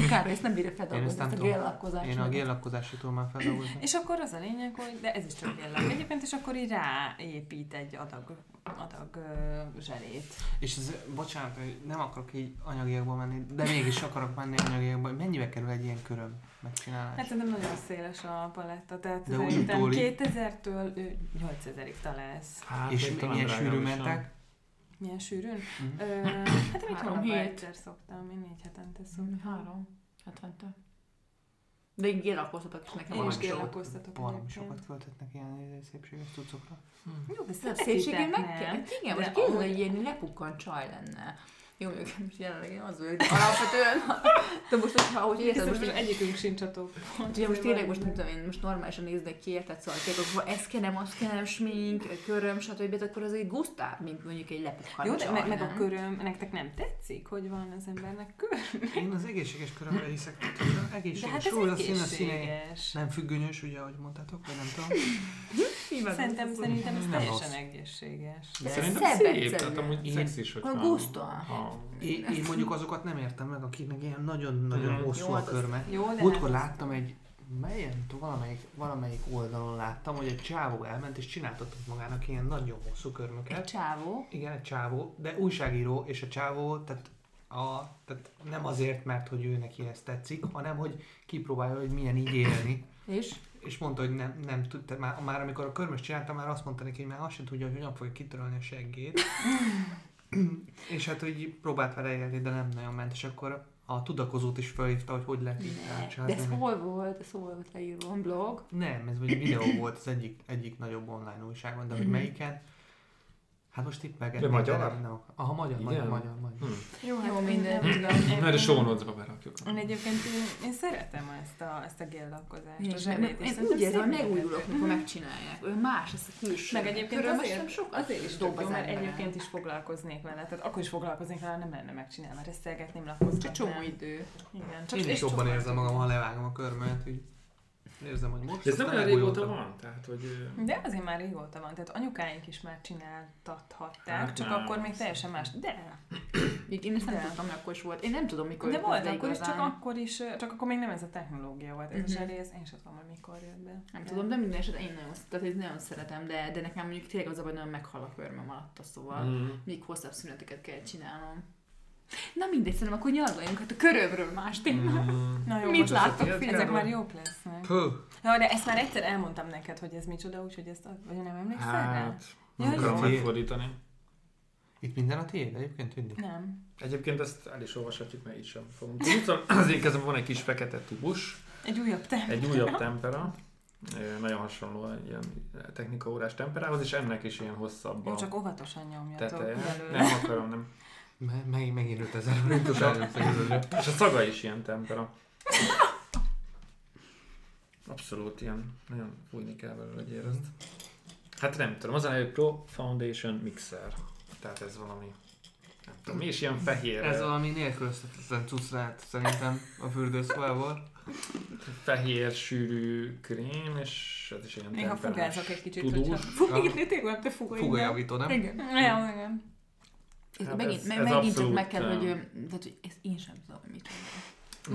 B: Kár, hogy ezt nem bírja
D: Én
B: feldolgozni,
D: ezt nem
B: ezt a
D: tudom.
B: géllakozást.
D: Én a géllakozást tudom már feldolgozni.
A: És akkor az a lényeg, hogy, de ez is csak jelleg egyébként, és akkor így ráépít egy adag, adag ö, zselét.
D: És ez, bocsánat, hogy nem akarok így anyagiakba menni, de mégis akarok menni anyagiakba. Mennyibe kerül egy ilyen köröm megcsinálás?
A: Hát szerintem nagyon széles a paletta, tehát
D: De úgy
A: szerintem
D: utóli.
A: 2000-től ö, 8000-ig találsz.
C: Hát,
D: és
C: még talán
D: milyen
C: drágább
D: sűrű
C: is van.
D: mentek?
A: Milyen sűrűn?
D: Mhm.
A: Ö, hát én egy
B: Három
A: hónapban
B: hét. Mm,
A: egyszer szoktam, én négy hetente szoktam.
B: Három, hetente. De én géllakoztatok is nekem.
A: Én
B: van.
A: is
D: Valami sokat-
A: géllakoztatok
D: Valami
A: egyébként.
D: sokat költetnek ilyen szépséges cuccokra.
A: Jó, de
B: Szép
A: szeretitek,
B: szépségén meg
A: nem?
B: kell. Hát Igen,
A: De
B: most képzeld,
A: ahogy-
B: hogy ilyen lepukkan csaj lenne. Jó, mondjuk most jelenleg én az vagyok, de alapvetően, de most, hogyha, hogy érted,
A: Viszont
B: most,
A: most
B: így-
A: egyikünk sincs a top.
B: ugye most tényleg most nem tudom én, most normálisan néznek ki, érted, szóval akkor ez kell, nem, azt kell, nem, smink, köröm, stb. akkor az egy gusztább, mint mondjuk egy lepukkan
A: Jó, de
B: csaj,
A: meg, meg a
B: nem?
A: köröm, nektek nem tetszik, hogy van az embernek köröm?
D: Én az egészséges körömre hiszek, tehát az
A: De
D: egészséges,
A: hát ez
D: rózsaszín a színe.
A: egészséges.
D: Nem függönyös, ugye, ahogy mondtátok, vagy nem tudom.
B: Nyilván
A: Szerintem,
B: az-
A: szerintem ez
D: Nem
A: teljesen
D: rossz.
A: egészséges.
B: De
C: Szerintem
B: szebb
C: szép,
B: egyszerűen.
C: tehát amúgy
D: Én-
C: szexis, hogy
B: A
C: van.
B: gusztó.
C: Ha-
D: Én, én mondjuk azokat nem értem meg, akiknek ilyen nagyon-nagyon
C: Mhm.
D: hosszú
B: Jó,
D: a
B: hát az-
D: körme.
A: Jó, de
D: Múltkor
A: hát-
D: láttam egy, melyen, valamelyik, valamelyik oldalon láttam, hogy egy csávó elment és csináltatott magának ilyen nagyon hosszú
B: Egy
D: körmöket.
B: csávó.
D: Igen, egy csávó, de újságíró, és a csávó, tehát, a, tehát nem azért, mert hogy ő neki ez tetszik, hanem hogy kipróbálja, hogy milyen így élni.
B: És?
D: És mondta, hogy nem, nem tudta, már, már amikor a körmös csinálta, már azt mondta neki, hogy már azt sem tudja, hogy hogyan fogja kitörölni a seggét. és hát, hogy próbált vele élni, de nem nagyon ment, és akkor a tudakozót is felhívta, hogy hogy lehet így Hát
B: De
D: rácsinálni.
B: ez hol volt? Ez hol volt leírva? A blog? Mhm.
D: Nem, ez egy videó volt az egyik, egyik nagyobb online újságban, de hogy melyiken, Hát most tippelgetnék.
C: De magyar?
D: nem- nem akar- Aha, magyar, magyar,
C: Igen?
D: magyar, magyar.
C: Hm.
A: Jó, hát
B: Jó, minden, tudom.
A: Én- Hm.
C: Mert a show notes-ba berakjuk.
A: Én egyébként én, én szeretem ezt a, ezt a géllakkozást, a
B: Nincs, nem,
A: zsebét. és
B: én
A: szerintem
B: úgy érzem, hogy
A: szép
B: megújulok, mikor megcsinálják. Ő más, ez a külső.
A: Meg egyébként
B: Körül most
A: azért-
B: nem sokat
A: Azért is
B: dob
A: tök jó,
B: az
A: mert
B: ember.
A: egyébként is foglalkoznék vele. Tehát akkor is foglalkoznék vele, nem lenne megcsinálva, reszelgetném, lakozgatnám.
B: Csak csomó idő.
A: Igen,
D: Én is
A: és
D: jobban
A: csomó
D: érzem
A: idő.
D: magam, ha levágom a körmömet, hogy érzem, hogy most...
C: De ez nem
D: aztán
C: olyan régóta
D: megújultam.
C: van, tehát hogy... ö,
A: De azért már régóta van, tehát anyukáink is már csináltathatták,
C: Hát
A: csak
C: nem.
A: akkor még teljesen más. De,
B: Még én ezt nem
A: De.
B: tudtam, hogy akkor is volt. Én nem tudom, mikor
A: de
B: jött
A: volt
B: ez
A: akkor is, csak
B: igazán.
A: akkor is, csak akkor még nem ez a technológia volt, ez
B: Mhm.
A: a zserész, én sem tudom, hogy mikor jött be.
B: Nem Hát tudom, de minden esetre én nagyon, tehát én nagyon szeretem, de, de nekem mondjuk tényleg az a baj, nagyon meghal a körmöm alatt, szóval
C: Mm.
B: még hosszabb szüneteket kell csinálnom. Na mindegy, szerintem akkor nyargaljunk, hát a körömről más téma.
C: Mm.
A: Na jó,
B: Mit
A: most
B: láttok
C: ezek
A: ezek
B: filmben?
A: már jók lesznek.
D: Hű,
A: Na, de ezt már egyszer elmondtam neked, hogy ez micsoda, úgyhogy ezt, ad- vagy nem emlékszel rá?
C: Hát, nem
A: Ja,
C: akarom
D: jó.
C: megfordítani.
D: itt minden a tiéd egyébként, Tündi?
A: Nem.
C: Egyébként ezt el is olvashatjuk, mert így sem fogom tudni. Szóval Az én kezemben van egy kis fekete tubus,
A: Egy újabb te.
C: egy újabb tempera, ö, nagyon hasonló egy ilyen technikaórás temperához, és ennek is ilyen hosszabb
A: Jó,
C: a
A: csak óvatosan nyomjatok
C: teteje.
A: belőle.
C: Nem akarom, nem.
D: Me- meg, megint 5000 forintos előszegülőre.
C: És a szaga is ilyen tempera. Abszolút ilyen, nagyon fújni kell belőle, hogy érezd. Hát nem tudom, az a neve, hogy Pro Foundation Mixer. Tehát ez valami, nem tudom, mi is ilyen fehér,
D: Ez valami nélkülözhetetlen cucrát szerintem a fürdőszobából.
C: fehér sűrű krém, és ez is ilyen
A: Néha
C: temperás
A: fugázok egy kicsit,
C: tudós.
A: hogyha... Fugálni, tényleg te fugálj.
D: Fugajavító, nem?
A: Igen. Igen, igen.
B: Ez
C: Hát
B: megint,
C: ez-
B: meg,
C: ez
B: megint csak
C: abszolút,
B: meg kell, hogy,
C: ö,
B: ö, tehát, hogy ezt én sem tudom, hogy mit mondjak.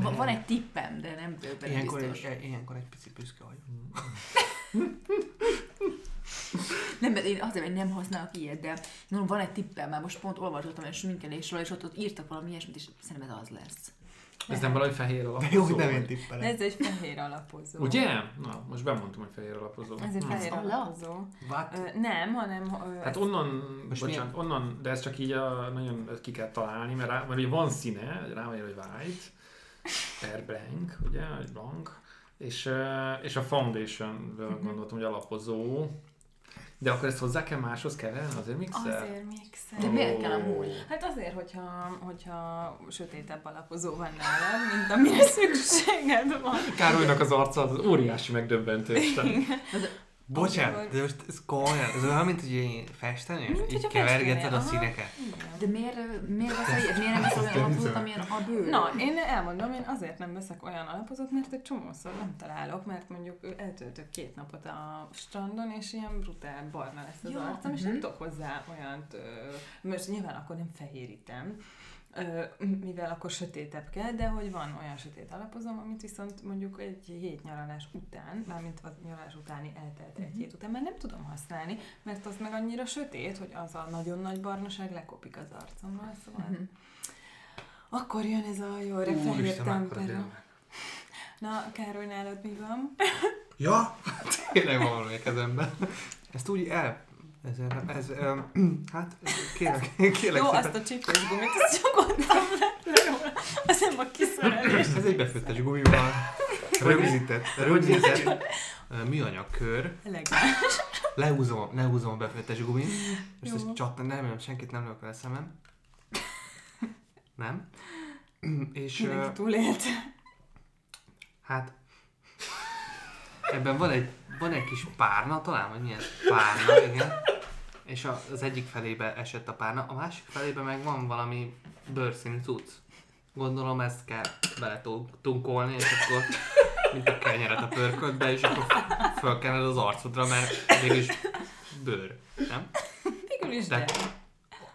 B: Va- Van egy tippem, de nem vagyok benne
D: Ilyenkor egy,
B: biztos.
D: ilyenkor egy picit büszke vagyok.
B: Nem, mert én azért, mert nem használok ilyet, de mondom, van egy tippem, már most pont olvasottam egy sminkelésről, és ott, ott írtak valami ilyesmit, és szerintem ez az lesz.
C: Ez nem valami fehér alapozó?
D: De jó, hogy nem
C: vagy?
D: én
A: De
D: tippelek.
A: ez egy fehér alapozó.
C: Ugye? Na, most bemondtam, hogy fehér alapozó.
A: Ez egy
C: Hm.
A: fehér
B: alap?
A: alapozó.
D: What?
A: Ö, nem, hanem... Ö,
C: Hát
A: ez-
C: onnan,
D: Most
C: bocsánat, onnan, de ez csak így a, nagyon ki kell találni, mert, rá, mert ugye van színe, rámegy, hogy white, per blank, ugye, vagy blank, és, eh, és a foundation
D: Mhm.
C: gondoltam, hogy alapozó, de akkor ezt hozzá kell máshoz keverni, azért mixer?
A: Azért mixer.
B: De miért kell
C: Ó.
B: amúgy?
A: Hát azért, hogyha, hogyha sötétebb alapozó van nálad, mint amire szükséged van.
C: Károlynak az arca az óriási megdöbbentés. tehát
D: Bocsánat, de most ez komolyan, ez olyan, mint hogy én festenél,
A: Mint
D: így
A: hogyha
D: kevergeted
A: festenél,
D: a
A: aha.
D: színeket.
B: De miért, ö, miért veszel ilyet? Miért nem veszel olyan alapozót, amilyen a bőr?
A: Na, én elmondom, én azért nem veszek olyan alapozót, mert egy csomószor nem találok, mert mondjuk eltöltök két napot a strandon, és ilyen brutál barna lesz az
B: Ja,
A: arcom, és
B: mhm.
A: nem tudok hozzá olyant, ö, most nyilván akkor nem fehérítem, ö, mivel akkor sötétebb kell, de hogy van olyan sötét alapozom, amit viszont mondjuk egy hét nyaralás után, mármint a nyaralás utáni eltelt
B: Mhm.
A: egy hét után, már nem tudom használni, mert az meg annyira sötét, hogy az a nagyon nagy barnaság lekopik az arcomról, szóval...
B: Mhm.
A: Akkor jön ez a jó öreg fehér
D: Úristen, mekkora
A: tempera.
D: tényleg.
A: Na, Károly, nálad mi van?
D: Ja, tényleg van valami a kezemben. Ezt úgy el... Ez, ez, öm, hát kérlek, kérlek
A: Jó,
D: szépen.
A: azt a csípős gumit, azt nyugodtan le, le róla. Az nem a kiszerelés.
D: Ez egy befőttes gumival rögzített, rögzített ö, műanyag kör.
A: Elegáns.
D: Lehúzom, lehúzom a befőttes gumit. Most
A: Jó.
D: ez csattan, nem, nem, senkit nem lövök a szemem. Nem. És... ö,
A: Mindenki túlélt.
D: Hát... Ebben van egy, van egy kis párna, talán, vagy milyen párna, igen. És a, az egyik felébe esett a párna, a másik felébe meg van valami bőrszínű cucc. Gondolom ezt kell beletunkolni, és akkor mint a kenyeret a pörköltbe, és akkor fölkened az arcodra, mert mégis bőr, nem?
A: Végül is, de
D: De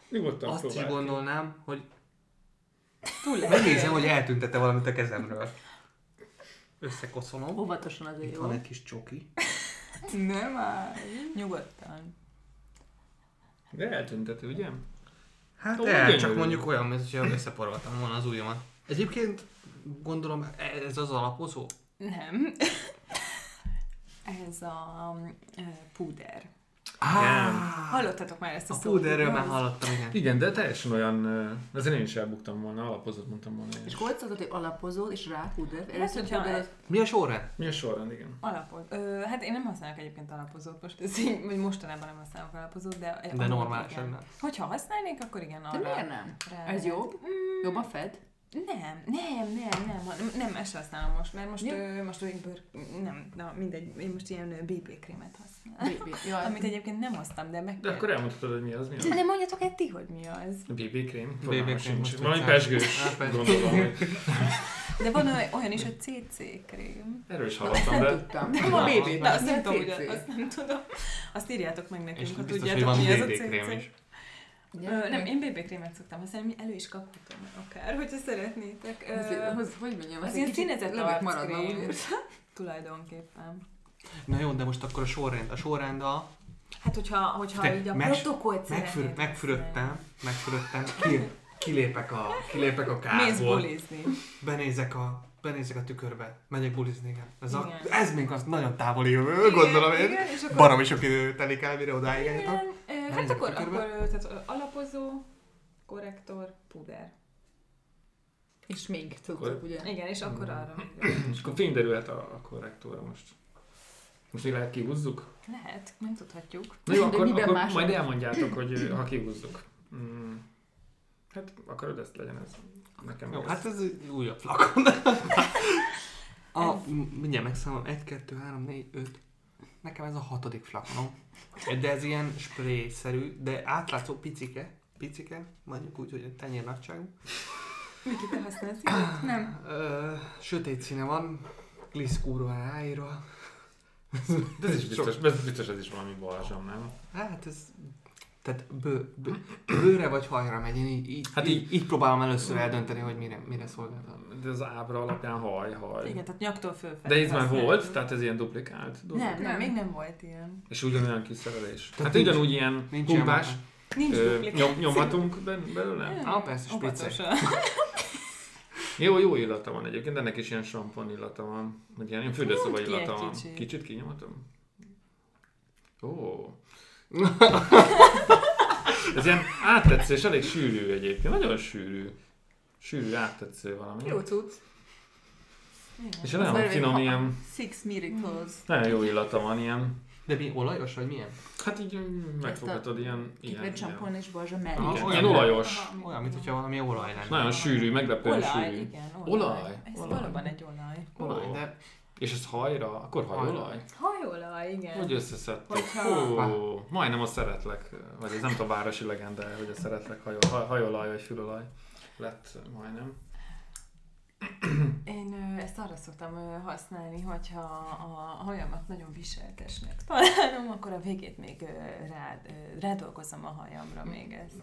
C: Nyugodtan
D: azt is
C: próbáld.
D: gondolnám, hogy
A: túlélt.
D: megnézem, hogy eltüntette valamit a kezemről. Összekoszolom.
B: Óvatosan azért
D: Itt
B: jó.
D: van egy kis csoki.
B: Nem már.
A: Nyugodtan.
C: De eltüntető, ugye?
D: Hát
C: Ó,
D: el,
C: gyönyörű.
D: csak mondjuk olyan, mint hogyha összeporoltam volna az ujjamat. Egyébként gondolom ez az alapozó.
A: Nem. Ez a ö, púder.
C: Igen.
A: um, Hallottatok már ezt a
D: Hú,
A: szót?
D: de erről már
A: igaz?
D: hallottam, igen.
C: Igen, de teljesen olyan, ö, ezért én is elbuktam volna, alapozott mondtam volna. én
B: És
C: is.
B: akkor hogy hogy alapozó, és rá húder.
A: Hát, hogyha
D: Mi a sorrend?
C: Mi a sorrend, igen.
A: Alapot. Ö, hát én nem használok egyébként alapozót most, ez így, vagy mostanában nem használok alapozót, de...
D: De normálisan
A: nem.
D: nem.
A: Hogyha használnék, akkor igen,
B: De
A: arra.
B: miért nem?
A: rá
B: Ez
A: lehet.
B: jobb?
A: Mm,
B: Jobban fed?
A: Nem, nem, nem, nem, nem, nem ezt használom most, mert most,
B: Ja.
A: ö, most olyan bőr, nem, na mindegy, én most ilyen ö, BB krémet használom.
B: Bé- bé- Jaj.
A: Amit egyébként nem hoztam, de meg...
C: De akkor elmondhatod, hogy mi az, mi az.
A: de mondjatok egy ti, hogy mi az.
C: BB krém?
D: BB krém, most
C: Valami
D: tudtam.
C: pesgős,
D: Á, Hát pesgős.
C: gondolom. hogy-
A: De van olyan- olyan is, hogy CC krém.
C: Erről is hallottam,
B: Nem
C: de
B: tudtam.
A: De
C: van
A: van
C: BB,
A: BB, de azt nem
B: milyen
A: tudom,
B: CC?
A: ugye, azt nem tudom. Azt írjátok meg nekünk,
D: És
A: ha
D: biztos, hogy
A: tudjátok,
D: van
A: mi az a
D: BB krém
A: CC.
D: is.
B: Ugye?
A: Ö, nem, én BB krémet szoktam használni, elő is kaphatom akár, hogyha szeretnétek. Ö,
B: Azért, hoz- hogy mondjam,
A: az
B: ez
A: ilyen
B: egy kicsit
A: színezett
B: lebeg maradva,
A: arckrém.
B: ugye?
A: Tulajdonképpen.
D: Na jó, de most akkor a sorrend. A sorrend a...
A: Hát, hogyha, hogyha
D: Te
A: így a
D: mes-
A: protokollt
D: Megfür,
A: szeretnéd
D: megfürödtem, megfürödtem, ki, kilépek a, kilépek a
A: használni. Mész
D: kárból,
A: bulizni.
D: benézek a, benézek a tükörbe, megyek bulizni, igen. Ez, a,
A: Igen.
D: ez még az nagyon távoli jövő, gondolom
A: Igen,
D: én.
A: igen, és akkor-
D: Baromi sok idő telik el, mire odáig
A: Igen,
D: eljutok.
A: ö, Hát
D: Menjünk
A: akkor,
D: a tükörbe.
A: akkor ö, tehát ö, alapozó, korrektor, puder.
B: És még tudtok, ugye?
A: Igen, és akkor arra.
C: és akkor fény derülhet a, a korrektóra most. Most még lehet kihúzzuk?
A: Lehet, nem tudhatjuk.
C: Na jó,
B: De
C: akkor,
B: miben
C: akkor
B: más-
C: majd elmondjátok, hogy ö, ha kihúzzuk. Mm. Hát akarod ezt legyen ez. Nekem
D: Jó,
C: meg
D: hát
C: ez.
D: ez egy újabb flakon. a, m- mindjárt megszámolom, 1, 2, 3, 4, 5. Nekem ez a hatodik flakonom. De ez ilyen spray-szerű, de átlátszó picike. Picike, mondjuk úgy, hogy a tenyér nagyságú.
A: Miki, te használsz
B: Nem.
D: Ö, sötét színe van, glisz kurva ráírva.
C: De ez is
D: Sok-
C: biztos, ez, biztos ez is valami balzsam, nem?
D: Hát ez... Tehát bő, bő, bőre vagy hajra megy, én így, így,
C: Hát
D: hát
C: így-
D: így, így, próbálom először eldönteni, hogy mire, mire szolgál.
C: De az ábra alapján haj, haj.
A: Igen, tehát nyaktól fölfelé.
C: De ez már
A: használni.
C: volt, tehát ez ilyen duplikált dolog.
A: Nem, nem,
B: Nem.
A: még nem volt ilyen.
C: És ugyanolyan kiszerelés.
D: Tehát
C: Hát
D: nincs-
C: ugyanúgy ilyen
D: Nincs ilyen
C: pumpás,
D: már.
A: Nincs
C: ö,
A: duplikát.
C: nyom, nyomhatunk ben- belőle.
D: Á, persze, spicek.
A: Óvatosan.
C: Jó, jó illata van egyébként, ennek is ilyen sampon illata van, vagy ilyen, ilyen fürdőszoba
A: Nyomd ki
C: illata
A: egy
C: van.
A: kicsit.
C: Kicsit kinyomatom? Ó. Ez ilyen áttetsző, és elég sűrű egyébként, nagyon sűrű. Sűrű, áttetsző valami.
B: Jó cucc.
C: És
A: Igen.
C: nagyon
B: Ez
C: finom,
B: olyan-
C: ilyen, Mm.
B: Six miracles.
C: nagyon jó illata van, ilyen,
D: De mi, olajos vagy milyen?
C: hát így mm, megfoghatod, ilyen, ilyen,
B: Kikben
C: ilyen,
B: csampon és balzsa mellé.
D: Aha,
C: igen,
D: olyan-
C: ilyen olajos.
D: Olyan, mintha valami olaj lenne.
C: Nagyon sűrű, meglepően
A: Olaj,
C: sűrű.
A: igen,
C: Olaj.
A: olaj. Ez
C: Olaj.
A: valóban egy olaj.
D: Olaj, de
C: És ez hajra, akkor hajolaj?
A: Hajolaj, igen.
C: Hogy összeszedtek?
A: Hogyha-
C: Hú, majdnem a szeretlek, vagy ez nem tudom, városi legenda, hogy a szeretlek hajol, ha- hajolaj vagy fülolaj lett majdnem.
A: Én ö, ezt arra szoktam ö, használni, hogyha a hajamat nagyon viseltesnek találom, akkor a végét még ö, rá, ö, rádolgozom a hajamra még ezt.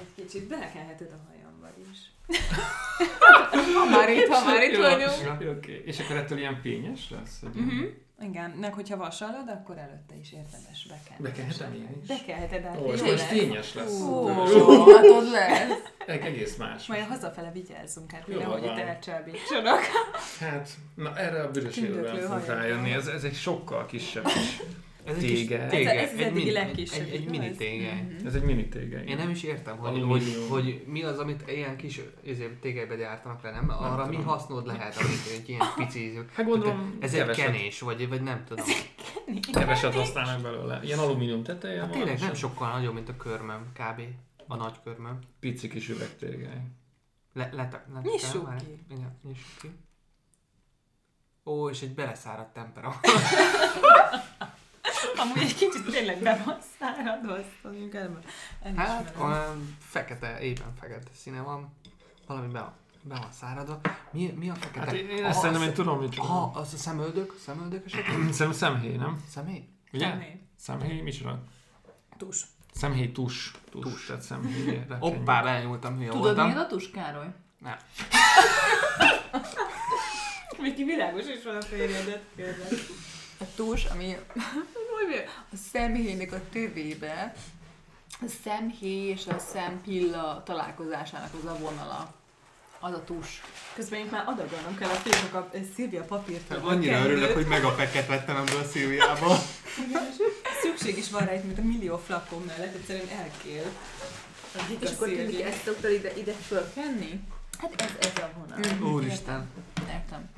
A: Egy kicsit belekelheted a hajamban is.
B: Ha már itt, ha már itt
C: Jó,
B: vagyunk.
C: Oké, okay. és akkor ettől ilyen fényes lesz? Hogy
A: Mhm. Igen, meg hogyha vasalod, akkor előtte is érdemes bekelni.
C: Bekelhetem én is?
A: Bekelheted, hát
C: Ó, és
A: jó
C: most
A: lesz.
C: fényes lesz.
A: Ó. hát
C: Ó,
B: Hatod lesz.
C: Eg- egész más.
A: Majd hazafele vigyázzunk, hát
C: Jó
A: mire, hogy itt
C: van.
A: elcsábítsanak.
C: Hát, na erre a büdös
A: Tündöklő
C: élőben fogunk
A: hajam.
C: rájönni, ez, ez egy sokkal kisebb is.
D: ez egy kis
C: Tége.
D: tége.
A: Ez- ez az
D: egy
A: egyik
D: mini-
A: legkisebb, Mhm.
D: Egy, egy
A: igaz?
D: mini tége.
C: Ez egy mini tége.
D: Én nem is értem, hogy, hogy,
C: Alumínium.
D: hogy mi az, amit ilyen kis izé, tégelybe gyártanak le, nem? Arra mi
C: tudom.
D: hasznod lehet, amit egy ilyen pici izé.
C: Hát gondolom,
D: Ez egy
C: keveset,
D: kenés, vagy, vagy nem tudom.
C: keveset használnak belőle. Ilyen alumínium teteje
D: Hát
C: van,
D: tényleg
C: és
D: nem
C: egy
D: sokkal nagyobb, mint a körmöm, kb. A nagy körmöm.
C: Pici kis
D: Hát
C: üvegtégely.
D: Le, lete, lete,
A: Nyissuk
D: már-
A: ki.
D: Igen, nyissuk ki. Ó, és egy beleszáradt tempera.
A: Amúgy egy kicsit tényleg be van száradva, azt mondjuk el.
D: Hát, olyan fekete, éppen fekete színe van. Valami be van, be van száradva. Mi, mi a fekete?
C: Hát én, én
D: Aha,
C: ezt szerintem én
D: az-
C: tudom, mit
D: Aha,
C: csinál.
D: az a szemöldök? Szemöldök esetleg?
C: Szerintem szemhéj, nem?
D: Személy?
C: Ugye? Szemhéj, mit csinál?
A: Tus.
C: Szemhéj tus. Tus. Tehát szemhéj.
D: Hoppá, belenyúltam, hülye
B: Tudod,
D: voltam.
B: mi a tus, Károly?
A: Miki világos is van a férjedet, kérlek.
B: A tus, ami a szemhéjnek a tövébe, a szemhéj és a szempilla találkozásának az a vonala. Az a tus.
A: Közben itt már adagolnom kell a férjek a Szilvia papírt.
D: Hát, Annyira örülök, hogy megapeket vettem ebből a Szilviából.
A: szükség is van rá itt, mint a millió flakon mellett, egyszerűen elkél. Hát,
E: És akkor tudjuk
A: Szilvi.
E: ezt szoktad ide, ide fölkenni? Hm.
B: Hát ez, ez a vonal.
D: Úristen.
B: Értem.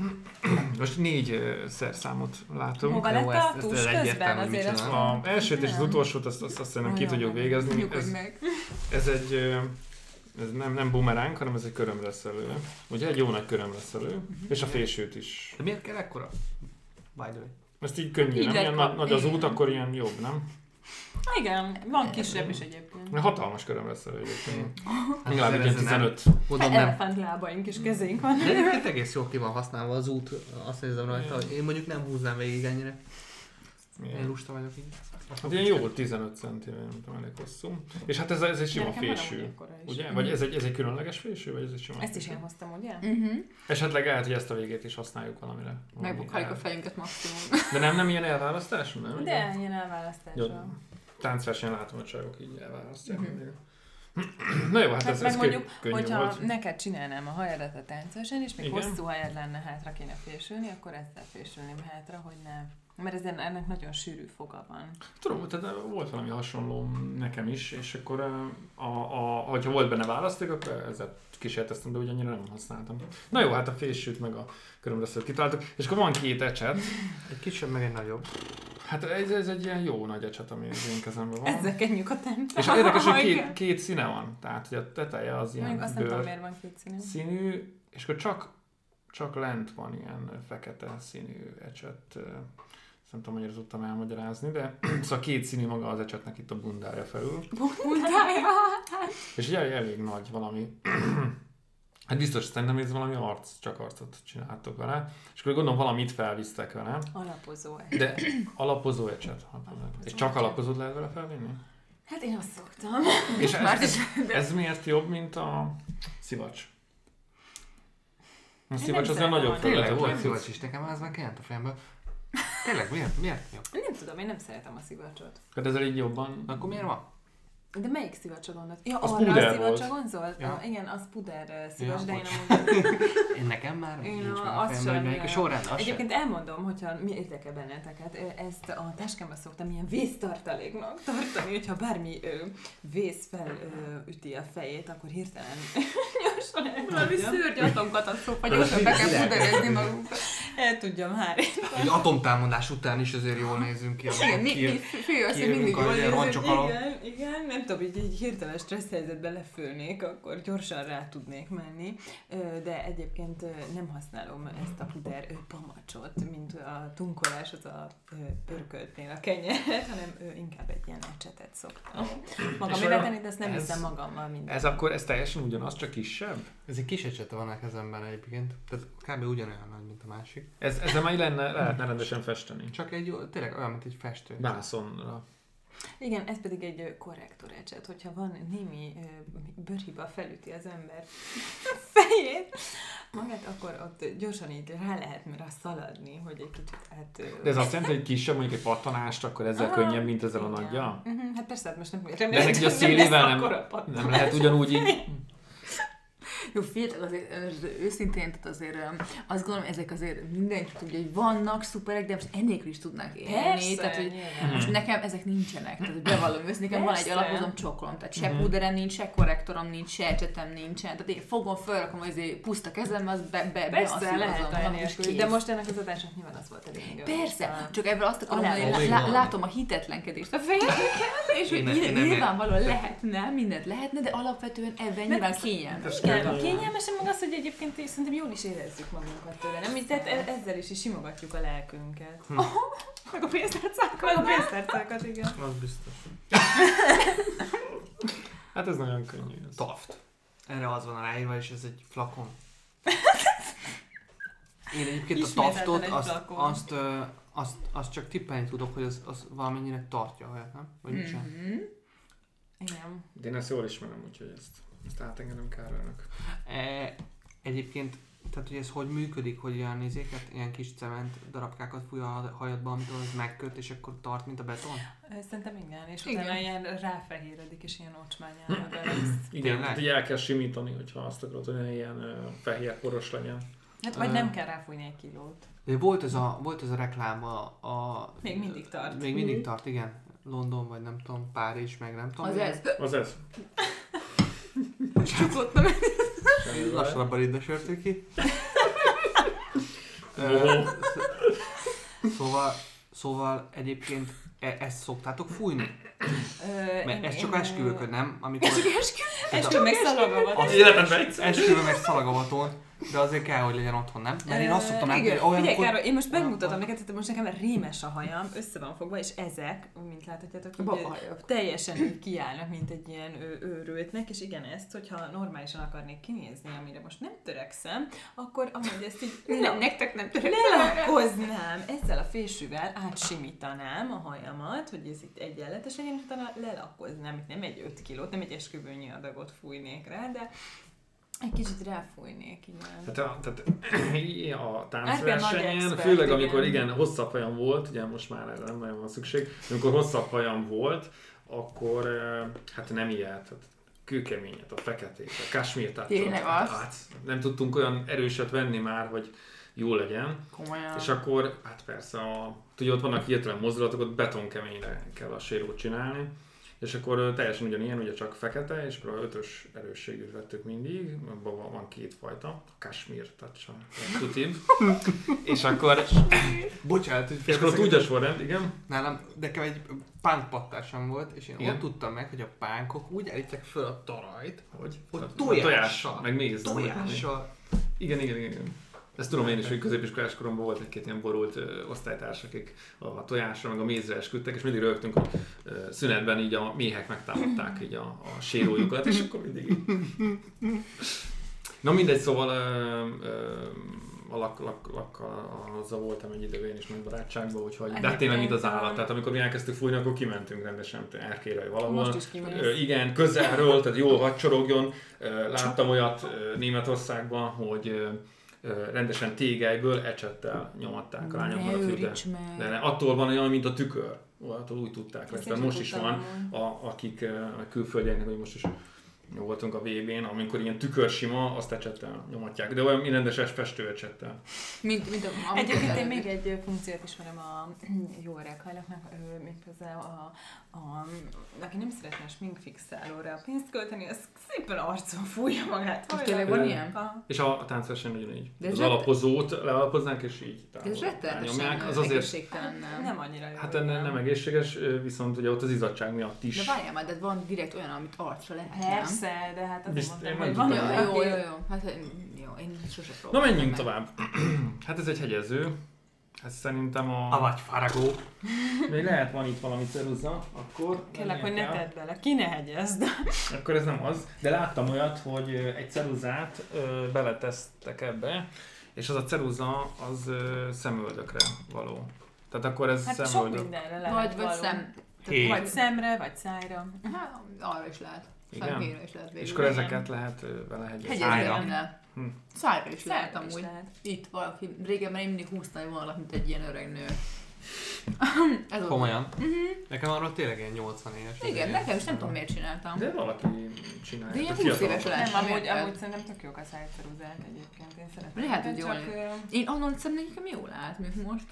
C: Most négy ö, szerszámot látunk.
A: Hova lett
D: Jó, ezt-
A: a
D: ezt
A: tús
D: egyértelmű,
A: közben?
D: mit
A: Azért ezt
D: csinál.
C: A elsőt és az
A: Nem.
C: utolsót azt, azt, azt szerintem ki tudjuk végezni.
B: Nyugodj
C: Ez,
B: meg.
C: ez egy ö, ez nem, nem bumeránk, hanem ez egy körömreszelő. Ugye egy jó nagy körömreszelő,
A: Mhm.
C: és a fésűt is.
D: De miért kell ekkora? By the way.
C: Ezt így könnyű,
A: Így
C: nem?
A: lett
C: Ilyen nagy,
A: kap-
C: nagy az
A: igen.
C: út, akkor ilyen jobb, nem?
A: Igen, van kisebb is egyébként.
C: Hatalmas körömreszelő egyébként.
D: Hát
C: Legalább egy
D: azért
C: ilyen
D: ez nem-
C: 15.
B: Hát,
D: Mondom,
B: e-
D: nem.
A: Elefánt lábaink és kezénk van.
D: De egyébként egész jól ki van használva az út, azt nézem rajta, hogy én mondjuk nem húznám végig ennyire. Én
C: Ilyen.
D: lusta vagyok így.
C: Hát ilyen jó 15 cm, nem tudom, elég hosszú. És hát ez, ez egy sima
A: Nekem van amúgy
C: fésű.
A: ekkora is.
C: Ugye? Vagy ez egy, ez egy különleges fésű, vagy ez egy sima
A: Ezt is
C: fésű?
A: én hoztam, ugye?
B: Uh-huh.
C: Esetleg lehet, hogy ezt a végét is használjuk valamire. Valami
B: Megbukáljuk a
C: el-
B: fejünket maximum.
C: De nem, nem ilyen elválasztás? Nem?
A: De ilyen
C: Jó,
A: elválasztással.
C: táncversenyen látom, hogy csajok így elválasztják mindig. Na jó, hát,
A: Mhm. Hát
C: ez,
A: meg
C: ez
A: mondjuk,
C: kö- könnyű
A: Hogyha
C: volt.
A: neked csinálnám a hajadat a táncosán, és még
C: Igen.
A: Igen. hosszú hajad lenne, hátra kéne fésülni, akkor ezzel fésülném hátra, hogy ne. Mert ezen, ennek nagyon sűrű foga van.
C: Tudom, tehát eh, volt valami hasonló nekem is, és akkor, a, a, a, hogyha volt benne választék, akkor ezzel kísérteztem, de ugye annyira nem használtam. Na jó, hát a fésűt meg a körömleszőt kitaláltuk, és akkor van két ecset.
D: Egy kisebb, meg egy nagyobb.
C: Hát ez, ez egy ilyen jó nagy ecset, ami az én kezemben van.
A: Ezzel kenjük a táncot.
C: És érdekes, hogy két, két színe van. Tehát, hogy a teteje az ilyen
A: Mondjuk azt nem tudom,
C: bőr-
A: miért van két színű.
C: színű, és akkor csak, csak lent van ilyen fekete színű ecset. ö, Ezt nem tudom, hogy ezt tudtam elmagyarázni, de szóval két színű maga az ecsetnek itt a bundája felül.
A: Bundája!
C: És ugye elég nagy valami. Hát biztos, szerintem ez valami arc, csak arcot csináltok vele. És akkor gondolom valamit felvisztek vele.
A: Alapozó egy.
C: De alapozó ecset. Alapozó.
A: Alapozó
C: És csak
A: ecset.
C: alapozót lehet vele felvinni?
A: Hát én azt szoktam.
C: És ez,
B: Már
C: ez,
B: is.
C: ez miért jobb, mint a szivacs? A
A: Hát nem
C: szivacs az a
A: szeretem
C: nagyobb
A: annyira.
D: Tényleg
C: felületet
D: volt
C: nem
D: szivacs is, nekem ez már kiment a fejembe. Tényleg, miért? Miért? jobb?
A: Nem tudom, én nem szeretem a szivacsot.
C: Hát ezzel így jobban...
D: Akkor miért van?
A: De melyik szivacsra gondolsz? Ja,
C: Az
A: arra
C: puder
A: a szivacsra
C: volt.
A: gondoltam.
D: Ja.
A: Igen, az puder eh, szivacs,
D: Ja,
A: de én
D: bocs.
A: amúgy
D: Én nekem már
A: Én
D: nincs
A: a-
D: már a
A: azt
D: fejemben,
A: sem,
D: hogy melyik a
A: ö,
D: sorrend. az se.
A: Egyébként elmondom, hogyha mi érdekel benneteket, ö, ezt a táskámba szoktam ilyen vésztartaléknak tartani, hogyha bármi ö, vész felüti a fejét, akkor hirtelen gyorsan el
E: Valami
A: tudjam,
E: szőrgyatom katasztrófa, gyorsan be kell
D: Világ.
E: puderezni magunkat.
A: el tudjam hárítani.
D: Egy atomtámadás után is azért jól nézünk ki. amikor
E: Igen, mi, mi
D: kijön-
E: fő az, hogy
D: kijövünk
E: mindig
D: a
E: jól
D: ilyen
E: érzed.
D: roncsok alól.
A: Igen, igen, nem tudom, így, így hirtelen stressz helyzetben lefőnék, akkor gyorsan rá tudnék menni, Ö, de egyébként ö, nem használom ezt a puder ö, pamacsot, mint a tunkolás az a ö, pörköltnél a kenyeret, hanem ö, inkább egy ilyen ecsetet szoktam. Magam
C: olyan-
A: tenni, de ezt nem
C: ez-
A: hiszem magammal minden.
C: Ez akkor, ez teljesen ugyanaz, csak kisebb?
D: Ez egy kis ecsete van a kezemben egyébként. Tehát kb. ugyanolyan nagy, mint a másik.
C: Ez, ezzel már így lenne, lehetne rendesen festeni.
D: Csak egy, jó- tényleg olyan, mint egy festő.
C: Vászonra.
A: Igen, ez pedig egy ö, korrektor ecset, hogyha van némi ö, bőrhiba felüti az ember fejét, magát, akkor ott gyorsan így rá lehet rá szaladni, hogy egy kicsit hát... ö,
C: De ez azt jelenti, hogy kisebb, mondjuk egy pattanást, akkor ezzel
A: Aha,
C: könnyebb, mint ezzel a
A: igen.
C: nagyja?
A: Mhm, Hát persze, hát most nem
C: De ennek így a szélével nem, nem lehet ugyanúgy így...
B: Jó, figyeljetek, azért ö, őszintén, tehát azért ö, azt gondolom, ezek azért mindenki tudja, hogy vannak szuperek, de most ennélkül is tudnak élni.
A: Persze,
B: tehát, hogy
A: nyilván.
D: Mhm.
B: Most nekem ezek nincsenek, tehát hogy bevallom őszintén, nekem van egy
A: Persze.
B: alapozom csokolom, tehát
D: Mhm.
B: se puderem nincs, se korrektorom nincs, se ecsetem nincsen, tehát én fogom, fölrakom, hogy azért puszta kezembe, az be, be,
A: Persze,
B: beasszírozom,
A: lehet
B: hanem
A: olyan
B: is
A: nélkül,
B: kész.
A: de most ennek az adásnak nyilván az volt a lényeg.
B: Persze, csak ebből azt akarom
A: Alá-
B: mondani, hogy
D: Ó,
B: lá-
D: igen.
B: látom a hitetlenkedést a fejeken, és hogy
D: Én nem- én
B: nyilv-
D: nem-
B: nyilvánvalóan lehetne, mindent lehetne, de alapvetően ebben nyilván kényelmes.
A: Igen, kényelmesen meg az, hogy egyébként is szerintem jól is érezzük magunkat tőle, nem? Így, Tehát e- ezzel is, is simogatjuk a lelkünket. Hm. meg a pénztárcákat. Meg a pénztárcákat, igen.
D: Az biztos.
C: Hát ez nagyon könnyű. Ez.
D: Taft. Erre az van ráírva, és ez egy flakon. Én egyébként a
A: Ismételten
D: taftot,
A: egy
D: azt,
A: flakon.
D: azt, ö, azt, azt, csak tippelni tudok, hogy az, az valamennyire tartja a hajat, nem?
A: Hmm.
D: Vagy mit sem.
B: Mhm.
A: Igen.
C: De én ezt jól ismerem, úgyhogy ezt, ezt átengedem Károlynak.
D: E, egyébként, tehát hogy ez hogy működik, hogy olyan nézéket, ilyen kis cement darabkákat fúj a hajadba, amitől az megköt, és akkor tart, mint a beton?
A: Ö, Szerintem igen, és
B: Igen.
A: igen. utána ilyen ráfehéredik, és ilyen
D: Hm.
A: ocsmányára lesz.
C: Igen,
D: Tényleg?
C: tehát így el kell simítani, hogyha azt akarod, hogy ne ilyen ö, fehér poros legyen.
A: Hát vagy
D: Ö.
A: nem kell ráfújni egy kilót.
D: De volt ez a, volt ez a reklám a, a...
A: Még mindig tart.
D: Még mindig tart, igen. London, vagy nem tudom, Párizs, meg nem tudom.
B: Az ez.
C: Az ez.
B: Csukottam.
C: Semmi baj.
D: Lassanabban idesörtük ki.
C: Wow.
D: szóval, szóval egyébként e- ezt szoktátok fújni? Mert ez csak esküvőkön, nem? Amikor
A: Ez csak meg szalagavat.
D: Azt-
C: Életemben egyszer.
D: esküvő meg szalagavatón, de azért kell, hogy legyen otthon, nem? Mert én azt szoktam
A: Ö,
D: elképzelni,
A: igen, Figyelj,
D: olyankor...
A: Károly, én most
D: olyankor-
A: megmutatom neked, hogy most nekem rémes a hajam, össze van fogva, és ezek, mint láthatjátok, így, ö,
B: Babajok.
A: teljesen így kiállnak, mint egy ilyen ő, őrültnek, és igen, ezt, hogyha normálisan akarnék kinézni, amire most nem törekszem, akkor amúgy ezt így
E: Nem,
A: le-
E: nektek nem török.
A: lelakoznám, ezzel a fésűvel átsimítanám a hajamat, hogy ez itt egyenletes legyen, és utána lelakoznám, itt nem egy 5 kilót, nem egy esküvőnyi adagot fújnék rá, de egy kicsit ráfújnék, igen.
C: Hát a, tehát a
A: Ebben nagy
C: táncversenyen,
A: expert,
C: főleg
A: igen.
C: amikor igen, hosszabb hajam volt, ugye most már erre nem nagyon van szükség, amikor hosszabb hajam volt, akkor eh, hát nem ilyet, hát kőkeményet, a feketét, a kasmírtát.
B: Tényleg
C: hát,
B: azt?
C: hát, nem tudtunk olyan erőset venni már, hogy jó legyen.
B: Komolyan.
A: Ah.
C: És akkor, hát persze, a, tudja, ott vannak hirtelen mozdulatok, ott betonkeményre kell a sérót csinálni. És akkor ö, teljesen ugyanilyen, ugye csak fekete, és akkor a ötös erősségűt vettük mindig, abban van- van két fajta, a kasmír, tehát sem, tutibb. és akkor,
D: Bocsánat, hogy
C: és akkor ott
D: félbeszakítok.
C: úgy a sorrend, igen.
D: Nálam, nekem egy punk pattásom volt, és én
C: Igen?
D: ott tudtam meg, hogy a pánkok úgy állítják föl a tarajt,
C: Hogy?
D: hogy
C: A
D: tojással,
C: meg méz.
D: tojással.
C: Igen, igen, igen. igen. Ezt tudom én is, hogy középiskolás koromban volt egy-két ilyen borult ö, osztálytárs, akik a tojásra, meg a mézre esküdtek, és mindig rögtünk a ö, szünetben így a méhek megtámadták így a, a sérójukat, és akkor mindig így. Na mindegy, szóval ö, ö, a lak, lak, lakkal azzal voltam egy időben én is nagy barátságban, úgyhogy, de hát tényleg mint az állat, tehát amikor mi elkezdtük fújni, akkor kimentünk rendesen erkére vagy valahol.
A: Most is kimész.
C: Ö, igen, közelről, tehát jól hadsorogjon. Ö, Láttam olyat ö, Németországban, hogy ö, ö, rendesen tégelyből ecsettel nyomatták a lányokban a fürdő. De ne, attól van olyan, mint a tükör. Ó, Attól úgy tudták
A: Ezt
C: ezt,
A: én
C: de
A: sem
C: most is
A: tudtam
C: van,
A: amúgy.
C: a, akik ö, a külföldieknek, hogy most is voltunk a VB-n, amikor ilyen tükör sima, azt ecsettel nyomatják. De olyan mi rendes festő ecsettel.
B: Mint, mint a, a
A: Egyébként én még egy funkciót ismerem a jó öreghajlaknak, ő méghozzá a, a, aki nem szeretne a sminkfixálóra a pénzt költeni, az szépen arcon fújja magát.
B: És tényleg van
C: Ö,
B: ilyen?
A: A-
C: És a, a táncversenyen ugyanígy.
B: De
C: De
B: ez
C: az
B: rett-
C: alapozzót lealapoznánk, és így
B: De ez rettenetesen
C: nyomják. Az azért
B: egészségtelen, nem?
A: Nem annyira jó.
C: Hát
A: igen.
C: ennél nem egészséges, ö, viszont ugye ott az izzadság miatt
B: De
C: is.
B: várjál már, de van direkt olyan, amit arcra lehet, nem?
A: Persze, de hát azt
C: Bizt-
A: mondtam,
C: én
A: hogy
C: nem
A: van
C: tudom.
B: Ja,
A: olyan,
B: jó, jó,
A: aki
B: jó. Hát én- jó, én sose
C: Na
B: próbáltam
C: menjünk
B: meg.
C: tovább. hát ez egy hegyező. Ez szerintem
D: A
C: a...
D: vagy faragó.
C: Még lehet van itt valami ceruza, akkor...
A: kellek, hogy ne
C: menjünk el.
A: tedd bele, ki ne hegyezd.
C: Akkor ez nem az. De láttam olyat, hogy ö, egy ceruzát ö, beletesztek ebbe, és az a ceruza az ö, szemöldökre való. Tehát akkor ez
A: Hát sok
C: szemöldök.
A: mindenre lehet
B: Vagy, vagy
A: való.
B: szem.
D: Hé.
A: Vagy szemre, vagy szájra.
B: Hát, arra is lehet.
C: Igen?
B: Szemhéjra is lehet végül.
C: És akkor ezeket lehet ö, vele hegyezni.
B: Hegyezre
D: Szájra.
B: minden.
C: Hm.
B: Szájra is
A: Szájra
B: lehet
A: is
B: amúgy.
A: lehet.
B: Itt valaki, régen már én mindig húztam egy vonalat, mint egy ilyen öreg nő. Ez volt.
D: Komolyan. Nekem arról tényleg ilyen 80 éves. az
B: Igen,
D: ilyen.
B: nekem is nem tudom miért csináltam.
C: De valaki csinálja.
B: De ilyen
C: tehát
B: 20 éves
C: fiatalok.
B: lehet.
C: Hát
A: Nem, amúgy,
B: érted?
A: amúgy szerintem tök jók a szájceruzák egyébként. Én szeretem.
B: Lehet, hogy
A: Csak,
B: jól
A: ö,
B: Én onnan szerintem nekem jól állt, még most.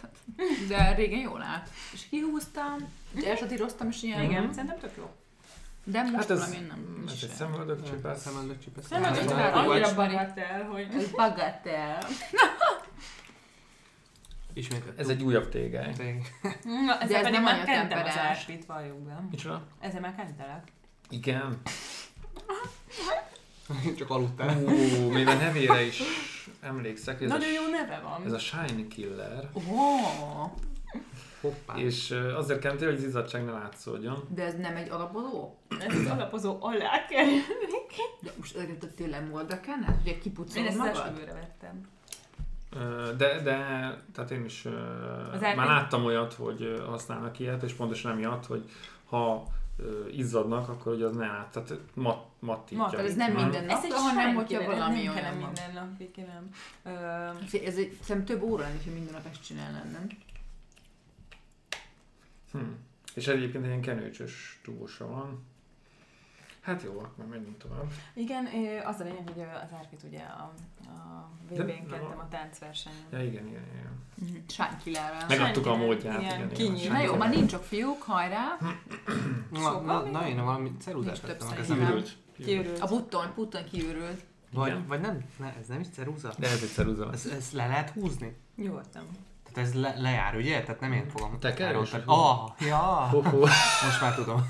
B: De régen jól állt. És kihúztam, és elsatíroztam, és ilyen.
A: Igen,
C: Mhm.
A: szerintem tök jó.
B: De most
C: Hát
B: hát
C: ez,
B: valami nem
C: ez
B: is.
C: egy szemöldök csipesz.
D: Szemöldök csipesz.
A: Nem,
B: Hát,
A: nem,
B: csak
A: nem,
B: hát,
A: annyira
D: Vagy
A: barát el, hogy...
B: Ez bagatell.
D: ismételt.
C: Ez egy újabb tégely.
D: Tényleg.
A: Na,
B: De ez
A: ezzel pedig
B: nem
A: már
B: annyira
A: kentem az
B: temperás.
A: ásvit, valljuk be.
C: Micsoda?
A: Ezzel már kentelek.
C: Igen.
D: Csak aludtál.
C: Ú, még a nevére is emlékszek. Ez, a,
A: Nagyon jó neve van.
C: ez a Shine Killer.
B: Oh,
D: Hoppá.
C: És ö, azért kentél, hogy az izzadság ne látszódjon.
B: de ez nem egy alapozó?
A: Ez az alapozó alá kell.
B: De most ezeket a tényleg moldra kellene? Ugye
A: Én
B: kipucolod
A: ezt az
B: magad?
A: esküvőre vettem.
C: Ö, De, de tehát én is ö, már
A: árnyék-
C: láttam olyat, hogy ö, használnak ilyet, és pontosan emiatt, hogy ha ö, izzadnak, akkor ugye az ne lát, tehát mat, mattítja.
A: Mat,
B: ez nem
C: Nem?
B: minden nap, hanem hogyha
A: sárkélem,
B: valami
A: nem
B: olyan
A: kellem
B: van.
A: minden nap, Viki, nem. Ö,
B: Fé- Ez egy, szerintem több óra lenne, ha minden nap ezt csinálnám, nem?
C: Hm. És egyébként ilyen kenőcsös tubusa van. Hát jó, akkor menjünk tovább.
A: Igen, ö, az a lényeg, hogy ö, az Árpit ugye a, a VB-n
C: De-
A: kettem
C: na.
A: a táncversenyen.
C: Ja, igen, igen, igen.
B: Sánkilára.
A: Meg-
C: Megadtuk a
A: Senki nem.
C: módját.
A: Igen,
C: Igen, igen,
A: kinyílt.
C: igen.
B: Na jó, már nincs sok fiúk, hajrá.
D: Na,
A: Szóval
D: na,
A: mi?
D: na, én valami ceruzát
B: Nincs
D: vettem
B: több
D: a kezembe.
C: Kiürült. Kiürült.
A: Kiürült.
B: A putton, putton kiürült.
D: Vagy,
C: Igen.
D: vagy nem, ne, ez nem is ceruza.
C: De ez egy ceruza.
D: Ez, ez le lehet húzni?
A: Nyugodtan.
D: Tehát ez le, lejár, ugye? Tehát nem én fogom.
C: Te kell is
D: elrontani.
C: húzni.
D: Ah, ja.
C: Hú, hú.
D: Most már tudom.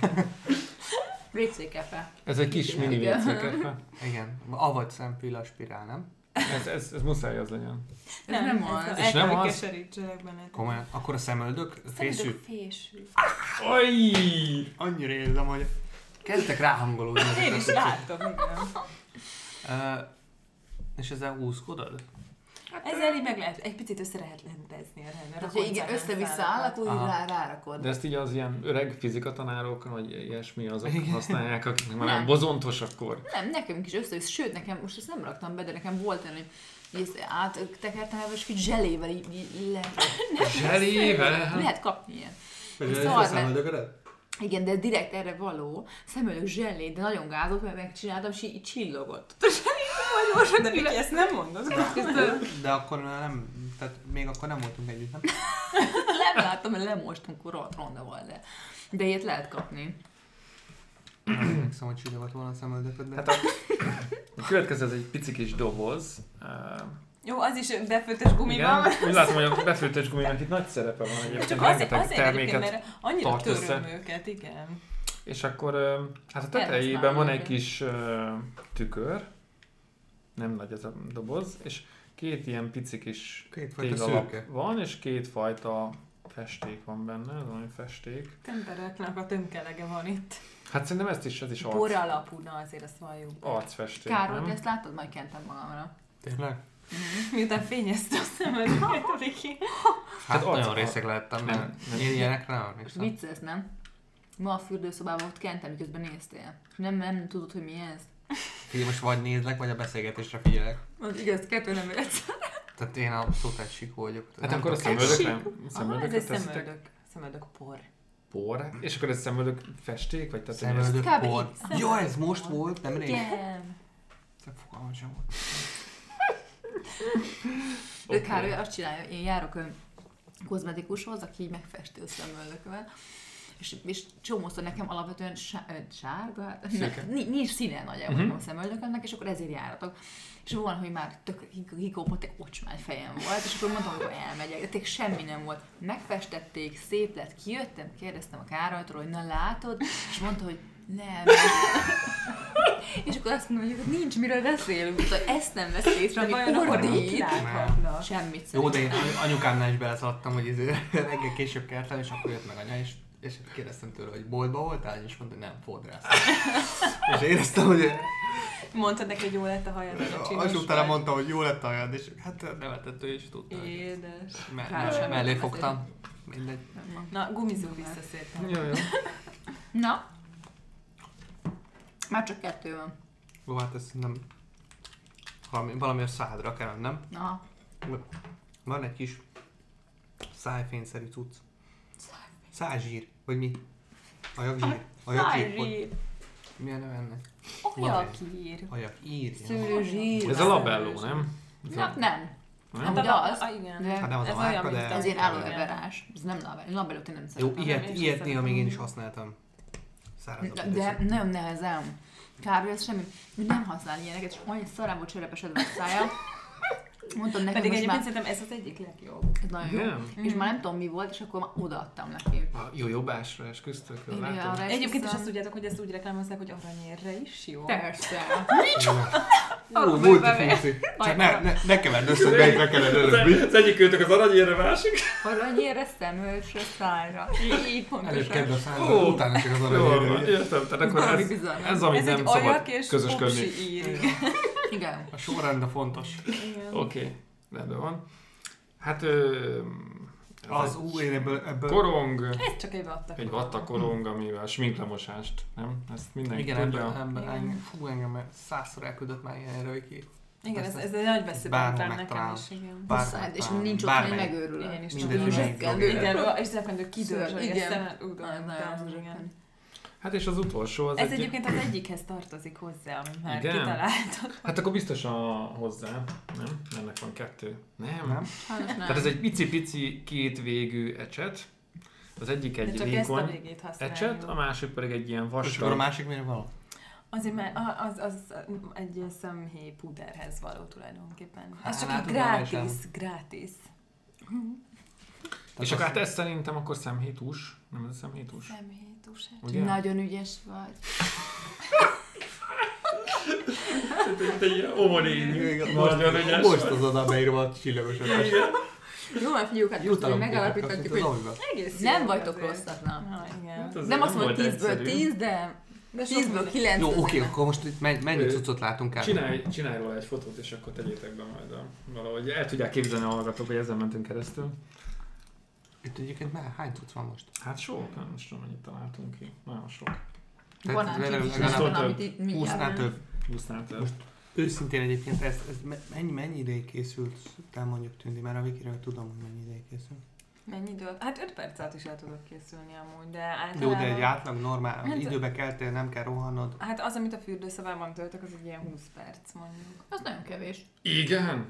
B: Récékefe.
C: Ez egy kis mini eh,
B: Igen.
C: WC-kefe.
D: Igen. Avagy szempilla spirál, nem?
C: Ez, ez, ez muszáj az legyen.
B: Ez nem, nem az.
A: Ez
C: És
A: el kell,
C: nem
A: hogy
C: az?
A: keserítselek benned.
D: Komolyan. Akkor a szemöldök
B: Szerintem
D: fésű.
B: fésű.
C: Aj!
D: Annyira érzem, hogy kezdtek ráhangolódni. ezek
A: Én
D: a
A: is
D: cuccok.
A: láttam, igen.
D: Ö, és ezzel húzkodod?
A: Ezzel így meg lehet, egy picit össze lehet rendezni a rendet.
B: Tehát, hogy Hát, igen, össze-vissza állak, úgy
D: Aha.
B: rá, rárakod.
C: De ezt így az ilyen öreg fizikatanárok, vagy ilyesmi, azok
D: Igen.
C: használják, akiknek már nem
B: Nem.
C: bozontos akkor.
B: Nem, nekem is össze, sőt, nekem most ezt nem raktam be, de nekem volt olyan, hogy így ezt áttekertem el, és így zselével így, így le,
C: Zselével!
B: lehet kapni ilyen.
A: Szóval
D: Vagy
B: Szar, mert-
D: szemöldöködet?
B: Igen, de ez direkt erre való, szemöldök zselé, de nagyon gázok, mert megcsináltam, és így, így csillogott. És így nagyon
A: De Viki,
B: gyorsan
A: ezt nem mondod?
B: Közben
D: De akkor már nem, tehát még akkor nem voltunk együtt, nem?
B: nem láttam, mert lemostunk, akkor rohadt ronda volt, de, de ilyet lehet kapni.
D: Emlékszem, hogy csúnya volt volna a szemöldököd, de...
C: Hát a, a következő ez egy pici kis doboz. Uh,
A: Jó, az is befőttes gumival.
C: Igen, úgy látom, hogy a befőttes guminak itt nagy szerepe van egyébként.
A: Csak azért,
C: rengeteg
A: azért egyébként, mert annyira
C: tart
A: töröm
C: össze.
A: őket, igen.
C: És akkor ö, hát a
B: Felhasználni
C: tetejében van egy
B: őket.
C: kis ö, tükör, nem nagy ez a doboz, és két ilyen pici kis
D: Kétfajta
C: téglalap
D: szürke.
C: van, és kétfajta festék van benne, ez valami festék.
A: Tempereknek a tömkelege van itt.
C: Hát szerintem ezt is, ez is arc,
A: Bor alapú, na azért azt valljuk.
C: arcfesték,
B: Károly,
C: nem?
B: te ezt látod, majd kentem magamra.
D: Tényleg?
C: Hát
A: Miután fényezte a szemedeket, Viki.
D: Hát
C: Hát az-
D: nagyon részeg lettem,
C: Nem,
D: mert
C: nem.
D: én ilyenekre nem emlékszem.
B: Vicces, nem? Ma a fürdőszobában ott kentem, miközben néztél. Nem, nem tudod, hogy mi ez?
D: Figyelj, most vagy nézlek, vagy a beszélgetésre figyelek.
B: Az igaz, kettő nem érsz.
D: Tehát én abszolút egy sikó vagyok. Tehát
C: Hát
D: nem
C: akkor a
D: tudok képzelni.
C: szemöldök nem?
A: Aha, Ah, ez
C: Szemöldöket
A: egy
C: teszitek?
A: szemöldök. Szemöldök por.
C: Por. És akkor ez szemöldök festék? Vagy tehát, hogy ez-
D: Szemöldök
B: Kb.
D: bor.
B: így.
D: Jó, ez most volt, nem rég?
B: Igen.
D: Te fogalmam sem volt.
B: De
C: Oké.
B: Károly azt csinálja, én járok ö, kozmetikushoz, aki így megfesti a szemöldökömet, és, és csomószor nekem alapvetően sá- ö, sárga, hát
C: Szürke.
B: ne, ni- nincs színe nagyjából
C: Mhm.
B: uh-huh. a szemöldökömnek, és akkor ezért járatok. És van, hogy már tök hik- hikópot, egy ocsmány fejem volt, és akkor mondtam, hogy akkor elmegyek, de tényleg semmi nem volt. Megfestették, szép lett, kijöttem, kérdeztem a Károlytól, hogy na látod, és mondta, hogy nem. és akkor azt mondom, hogy akkor nincs miről beszélünk, tehát ezt nem vesz észre,
A: De
B: ami
A: vajon akkor mit
B: ordít.
A: láthatnak?
B: Semmit
D: Jó, de én any- anyukámnál is beleszaladtam, hogy izé, reggel később keltem, és akkor jött meg anya, és, és kérdeztem tőle, hogy boltba voltál, és mondta, hogy nem, fodrász. és éreztem, hogy
A: Mondtad neki, hogy jó lett a hajad, hogy a csinos
D: az utána
A: vagy.
D: mondta, hogy jó lett a hajad, és hát nevetett ő is tudta. hogy-
A: Édes.
D: Me-
B: Káros
D: me-
B: ember.
D: Mellé fogtam. Mindegy.
A: Na, gumizó vissza szépen.
C: Jó, jó.
B: Na. Már csak kettő van.
D: Jó, hát ez nem... Valami, valami a szádra kell, nem?
B: Na.
D: Van egy kis szájfényszerű cucc. Szájzsír, vagy mi? Ajakzsír? Ajakzsír? hogy-
A: Fájri,
D: Mi a neve ennek?
A: olyakír.
D: Ajakír. igen.
B: Szőlőzsír.
C: Ez a labelló, nem? Ez
B: Na,
C: a-
B: nem. Hát,
C: nem?
B: de az-
A: Ah, igen.
B: De
D: Hát nem az
A: Ez
D: a
A: olyan,
D: márka,
A: mint
D: de...
A: a-
B: ez ilyen
A: Igen.
B: állóeverás. Ez nem label. Labelot én nem
D: Jó,
B: szeretem.
D: ilyet,
A: is
D: ilyet néha
A: szeretem.
D: még én is használtam. Száraz
B: Na, De nagyon nehezen. Kb. ez semmi. Nem használ ilyeneket, és olyan szarából cserepesedve a szája. Mondtam neki,
A: Pedig
B: most
A: egyébként
B: már
A: szerintem ez az egyik legjobb.
B: ez nagyon jó.
C: Nem?
B: És már nem tudom mi volt, és akkor már odaadtam neki.
C: A jó jobbásra esküztök,
B: Én
C: látom.
B: arra
A: Egyébként is
B: esküszöm.
A: azt tudjátok, hogy ezt úgy reklámozzák, hogy aranyérre is jó.
B: Persze.
D: Ú, multifunkci. Csak ne, ne, ne keverd össze, hogy melyikre kellene előbb. mi?
C: Az egyik őtök az aranyérre, a másik.
B: Aranyére szemölcsre szájra.
A: Így, így
D: Előbb
A: pontosan.
D: kedd a
C: Ó.
D: szándra, utána csak az
C: Jól
D: aranyérre.
C: van, értem. Tehát akkor
B: Valami
C: ez,
B: bizarr.
C: ez amit
A: Ez egy
C: nem szabad
A: ajak és
C: közösködni.
A: popsi ír.
B: Igen.
D: A sorrend a fontos.
A: Igen.
C: Oké, okay, rendben van. Hát ö, ez
D: Az
C: egy
D: ú, én ebből... ebből
C: korong,
A: Ez csak egy vattak.
C: egy vatta korong, amivel sminklemosást, nem? Ezt mindenki
D: igen,
C: tudja.
D: ebből, ebből,
A: Igen.
D: engem, fú, engem százszor elküldött már ilyenre, hogy ki.
A: Igen, ez,
D: Persze.
A: ez egy nagy beszédben
D: Bárhol
A: nekem
D: megtalálod.
A: is. Igen.
D: Bármely
B: Száj- és
D: pálma,
B: nincs ott, hogy
D: bármelyik.
B: megőrül.
A: Én is
D: Mindegy,
A: csak
D: mindegy,
A: zsebkendő.
D: drogér.
A: Igen, és zsebkendő
B: Szörny,
A: kidörzsölje
B: igen.
A: szemet. Ú, de
B: Nagyon
A: nem,
B: nagyon
A: igen.
B: zsebkendő.
C: Hát és az utolsó az
A: Ez
C: egy...
A: egyébként az egyikhez tartozik hozzá, amit már
C: Igen?
A: kitaláltak.
C: Hát akkor biztos a hozzá, nem? Ennek van kettő. Nem, nem.
B: Sajnos nem.
C: Tehát ez egy pici-pici két végű ecset. Az egyik
A: De
C: egy
A: csak ezt a
C: vékony
A: végét használjuk.
C: ecset, a másik pedig egy ilyen
D: És akkor a
C: vastag.
D: másik mire való?
A: Azért mert a- az, az egy ilyen szemhéj púderhez való tulajdonképpen.
D: Hát,
A: Ez csak így
D: látod, már is
A: grátis, grátis.
D: Tehát
C: És akkor
D: azt-
C: hát ez szerintem akkor szemhétus. Nem ez a szemhétus?
A: Szemhéj tusát.
C: Ugye?
B: Nagyon ügyes vagy.
C: Te ilyen omonéni. Nagyon
D: Most-
C: ügyes
D: Most
C: vagy.
D: az oda beírva a csillagosat.
B: Jó, már fiúk, hát most
D: Jutalom.
B: megalapíthatjuk, hogy
A: Egész
B: nem
A: jó
B: vagytok
A: azért.
B: rosszak, Hát, na.
A: Na, igen.
C: Ez
B: Nem azt mondom, hogy
C: volt
B: 10-ből
C: egyszerű.
B: 10, de
A: De sok
B: 10-ből
A: minden-
B: 9.
D: Jó, oké, akkor most itt men- mennyi
C: Ő-
D: cuccot látunk el?
C: Csinálj, csinálj róla egy fotót, és akkor tegyétek be majd a, valahogy. El tudják képzelni a hallgatók, hogy ezen mentünk keresztül.
D: Itt egyébként már hány cucc van most?
C: Hát sok, nem is tudom, mennyit találtunk ki. Nagyon sok.
B: Van
D: Tehát
B: ám
D: legalább-
B: kicsit
C: legalább
B: van,
C: több.
B: amit itt mi
D: 20-nál
B: járunk.
D: több.
C: Busznál több.
D: hát, Most Őszintén egyébként ez, ez me- mennyi, mennyi ideig készült, el mondjuk tűnni, mert a Vikiről tudom, hogy mennyi ideig készült.
A: Mennyi idő? Hát 5 perc alatt is el tudok készülni amúgy, de
D: Jó,
A: általában...
D: de egy átlag normál,
A: Hát-
D: időbe keltél, nem kell rohannod.
A: Hát az, amit a fürdőszobában töltök, az egy ilyen 20 perc mondjuk.
B: Az nagyon kevés.
C: Igen?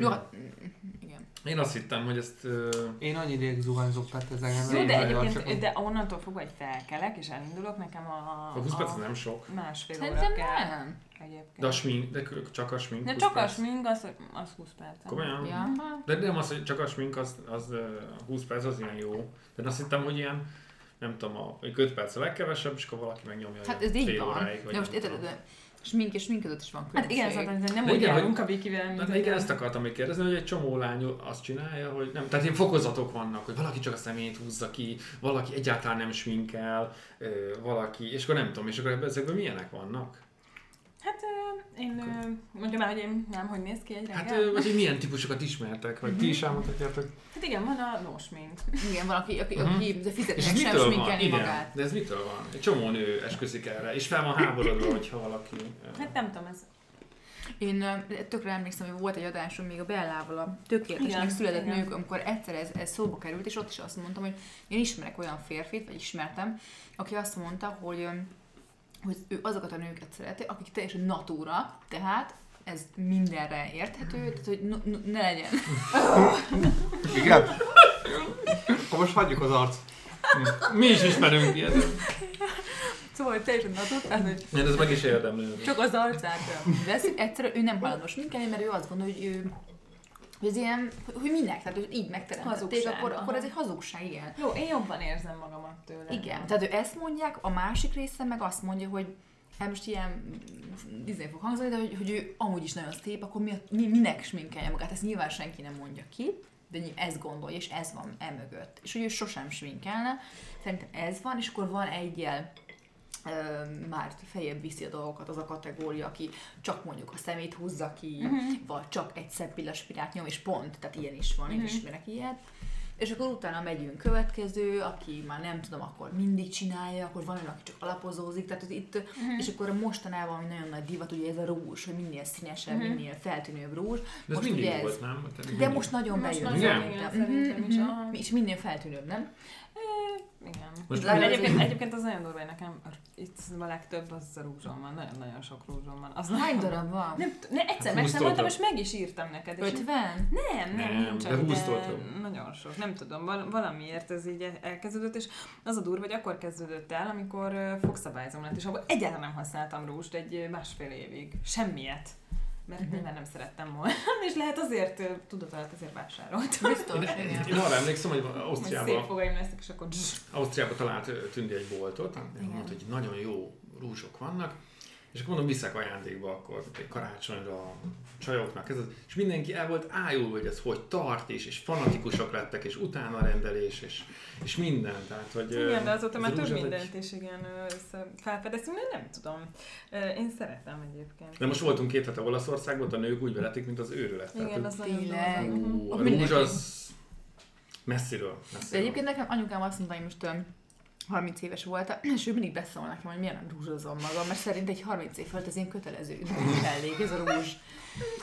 B: Jó,
D: Hm.
B: hát, mm, igen.
C: Én azt hittem, hogy ezt... ö,
D: Én annyi ideig zuhányzok, tehát ezzel nem
A: Jó,
D: nem
A: de
D: nagyon sokat-
A: egyébként, de onnantól fogva, hogy felkelek és elindulok, nekem a...
C: A 20 perc az nem sok.
A: Másfél
B: Szerintem
A: óra kell
B: nem.
A: egyébként.
C: De a smink, de kül- csak a smink.
A: de
C: 20
A: csak a
C: perc.
A: smink, az, az 20 perc.
C: Komolyan?
B: Ja.
C: De nem az, hogy csak a smink, az, az ö, 20 perc az ilyen jó. De én azt hittem, hogy ilyen, nem tudom, a, hogy 5 perc a legkevesebb, és akkor valaki megnyomja
B: Hát
C: ilyen
B: ez így
C: fél
B: van.
C: óráig, vagy
B: De most
C: nem
B: érted,
C: tudom.
B: de smink és smink között is van
A: Hát
B: különbség.
A: igen, szóval nem
C: De
A: úgy
C: igen,
A: járunk a Vikivel, mint
B: Hát
C: Na, de igen, ezt akartam még kérdezni, hogy egy csomó lány azt csinálja, hogy nem, tehát ilyen fokozatok vannak, hogy valaki csak a szemét húzza ki, valaki egyáltalán nem sminkel, ö, valaki, és akkor nem tudom, és akkor ebben ezekben milyenek vannak?
A: Hát ö, én ö, mondjam már, hogy én nem, hogy néz ki egy reggel.
C: Hát, ö, vagy hogy milyen típusokat ismertek, vagy ti
B: Mhm.
C: is elmondhatjátok.
A: hát igen, van a no smink.
B: Igen, van, aki, aki,
C: Mhm.
B: aki de
C: És
B: fizetnek
C: ez
B: sem
C: mitől van?
B: sminkelni
C: Igen,
B: magát.
C: de ez mitől van? Egy csomó nő esküszik erre, és fel van háborodva, hogyha valaki... ö,
A: Hát nem tudom, ez...
B: Én ö, tökre emlékszem, hogy volt egy adásunk még a Bellával, a tökéletesnek
A: Igen,
B: született
A: igen.
B: nők, amikor egyszer ez, ez szóba került, és ott is azt mondtam, hogy én ismerek olyan férfit, vagy ismertem, aki azt mondta, hogy, ö, hogy ő azokat a nőket szereti, akik teljesen natúrak, tehát ez mindenre érthető, tehát hogy no, no, ne legyen.
D: Igen? Akkor most hagyjuk az arcot.
C: Mi is ismerünk ilyet.
B: Szóval hogy teljesen
C: Hát
B: natúr, tehát hogy
C: Én ez meg is érdemlő.
B: csak az arcát veszik. Egyszerűen ő nem hajlandó sminkelni, mert ő azt gondolja, hogy ő hogy ez ilyen, hogy minek, tehát hogy így megteremtették,
A: Hazugság,
B: akkor, akkor
A: aha.
B: ez egy hazugság, igen.
A: Jó, én jobban érzem magamat tőle.
B: Igen, tehát ő ezt mondják, a másik része meg azt mondja, hogy hát most ilyen izé fog hangzani, de hogy, hogy ő amúgy is nagyon szép, akkor mi, a- mi, minek sminkelje magát? Ezt nyilván senki nem mondja ki, de ny- ezt gondolja, és ez van emögött. És hogy ő sosem sminkelne, szerintem ez van, és akkor van egyel ö, már feljebb viszi a dolgokat az a kategória, aki csak mondjuk a szemét húzza ki,
A: Mhm.
B: vagy csak egy szebb pillaspirát nyom, és pont, tehát ilyen is van, én
A: Mhm.
B: ismerek ilyet. És akkor utána megyünk következő, aki már nem tudom, akkor mindig csinálja, akkor van olyan, aki csak alapozózik, tehát hogy itt,
A: Mhm.
B: uh-huh. és akkor mostanában ami nagyon nagy divat, ugye ez a rúzs, hogy minél színesebb,
A: Mhm.
B: uh-huh. minél feltűnőbb rúzs.
C: De ez
B: Most
C: mindig
B: ugye ez-
C: volt, nem? Tehát
B: De
C: mindig.
B: most nagyon
A: Most
B: bejön.
C: nagyon,
B: szerintem.
A: igen, szerintem is,
B: Mhm,
A: aha.
B: mhm. És minél feltűnőbb, nem?
A: Igen.
C: Most
A: Most
B: mi-
A: egyébként, egyébként az nagyon durva, hogy nekem itt a legtöbb az a rúzsom van, nagyon-nagyon sok rúzsom van. Az
B: Hány
A: nagyon-
B: darab van?
A: Nem, t- ne, egyszer
C: Hát
A: megszámoltam,
C: húsztoltad.
A: és meg is írtam neked. És
B: 50?
A: nem, nem,
C: Nem,
A: nem, nincs
C: de
A: de
C: húsztoltad.
A: Nagyon sok, nem tudom, val- valamiért ez így el- elkezdődött, és az a durva, hogy akkor kezdődött el, amikor ö, fogszabályzom lett, és abban egyáltalán nem használtam rúst egy ö, másfél évig, semmiet. Mert
B: Mhm.
A: nyilván nem szerettem volna, és lehet azért, ö, tudod, alatt azért vásároltam.
B: Biztos, igen.
C: Én arra emlékszem, hogy
A: Most szép
C: Ausztriában
A: fogaim lesznek, és akkor zs,
C: Ausztriában talált ö, Tündi egy boltot, és mondta, hogy nagyon jó rúzsok vannak, és akkor mondom, viszek ajándékba akkor egy karácsonyra a csajoknak. Ez, az- és mindenki el volt ájulva, hogy ez hogy tart, és, és fanatikusok lettek, és utána rendelés, és, és minden. Tehát, hogy, ö,
A: Igen, de azóta
C: ez
A: már
C: a
A: több
C: rúzs az egy-
A: mindent is igen ö, össze felfedeztünk, de nem tudom. Ö, Én szeretem egyébként.
C: De most voltunk két hete Olaszországban, ott a nők úgy veletik, mint az őrület. Tehát,
A: Igen, az nagyon
B: Tényleg.
A: durva. Mhm.
C: Ú, a
B: Mindenki.
C: rúzs az messziről. messziről.
B: Szóval De egyébként nekem anyukám azt mondta, hogy most öm, 30 éves voltam, és ő mindig beszól nekem, hogy miért nem rúzsozom magam, mert szerint egy 30 év fölött az én kötelező mellék ez a rúzs.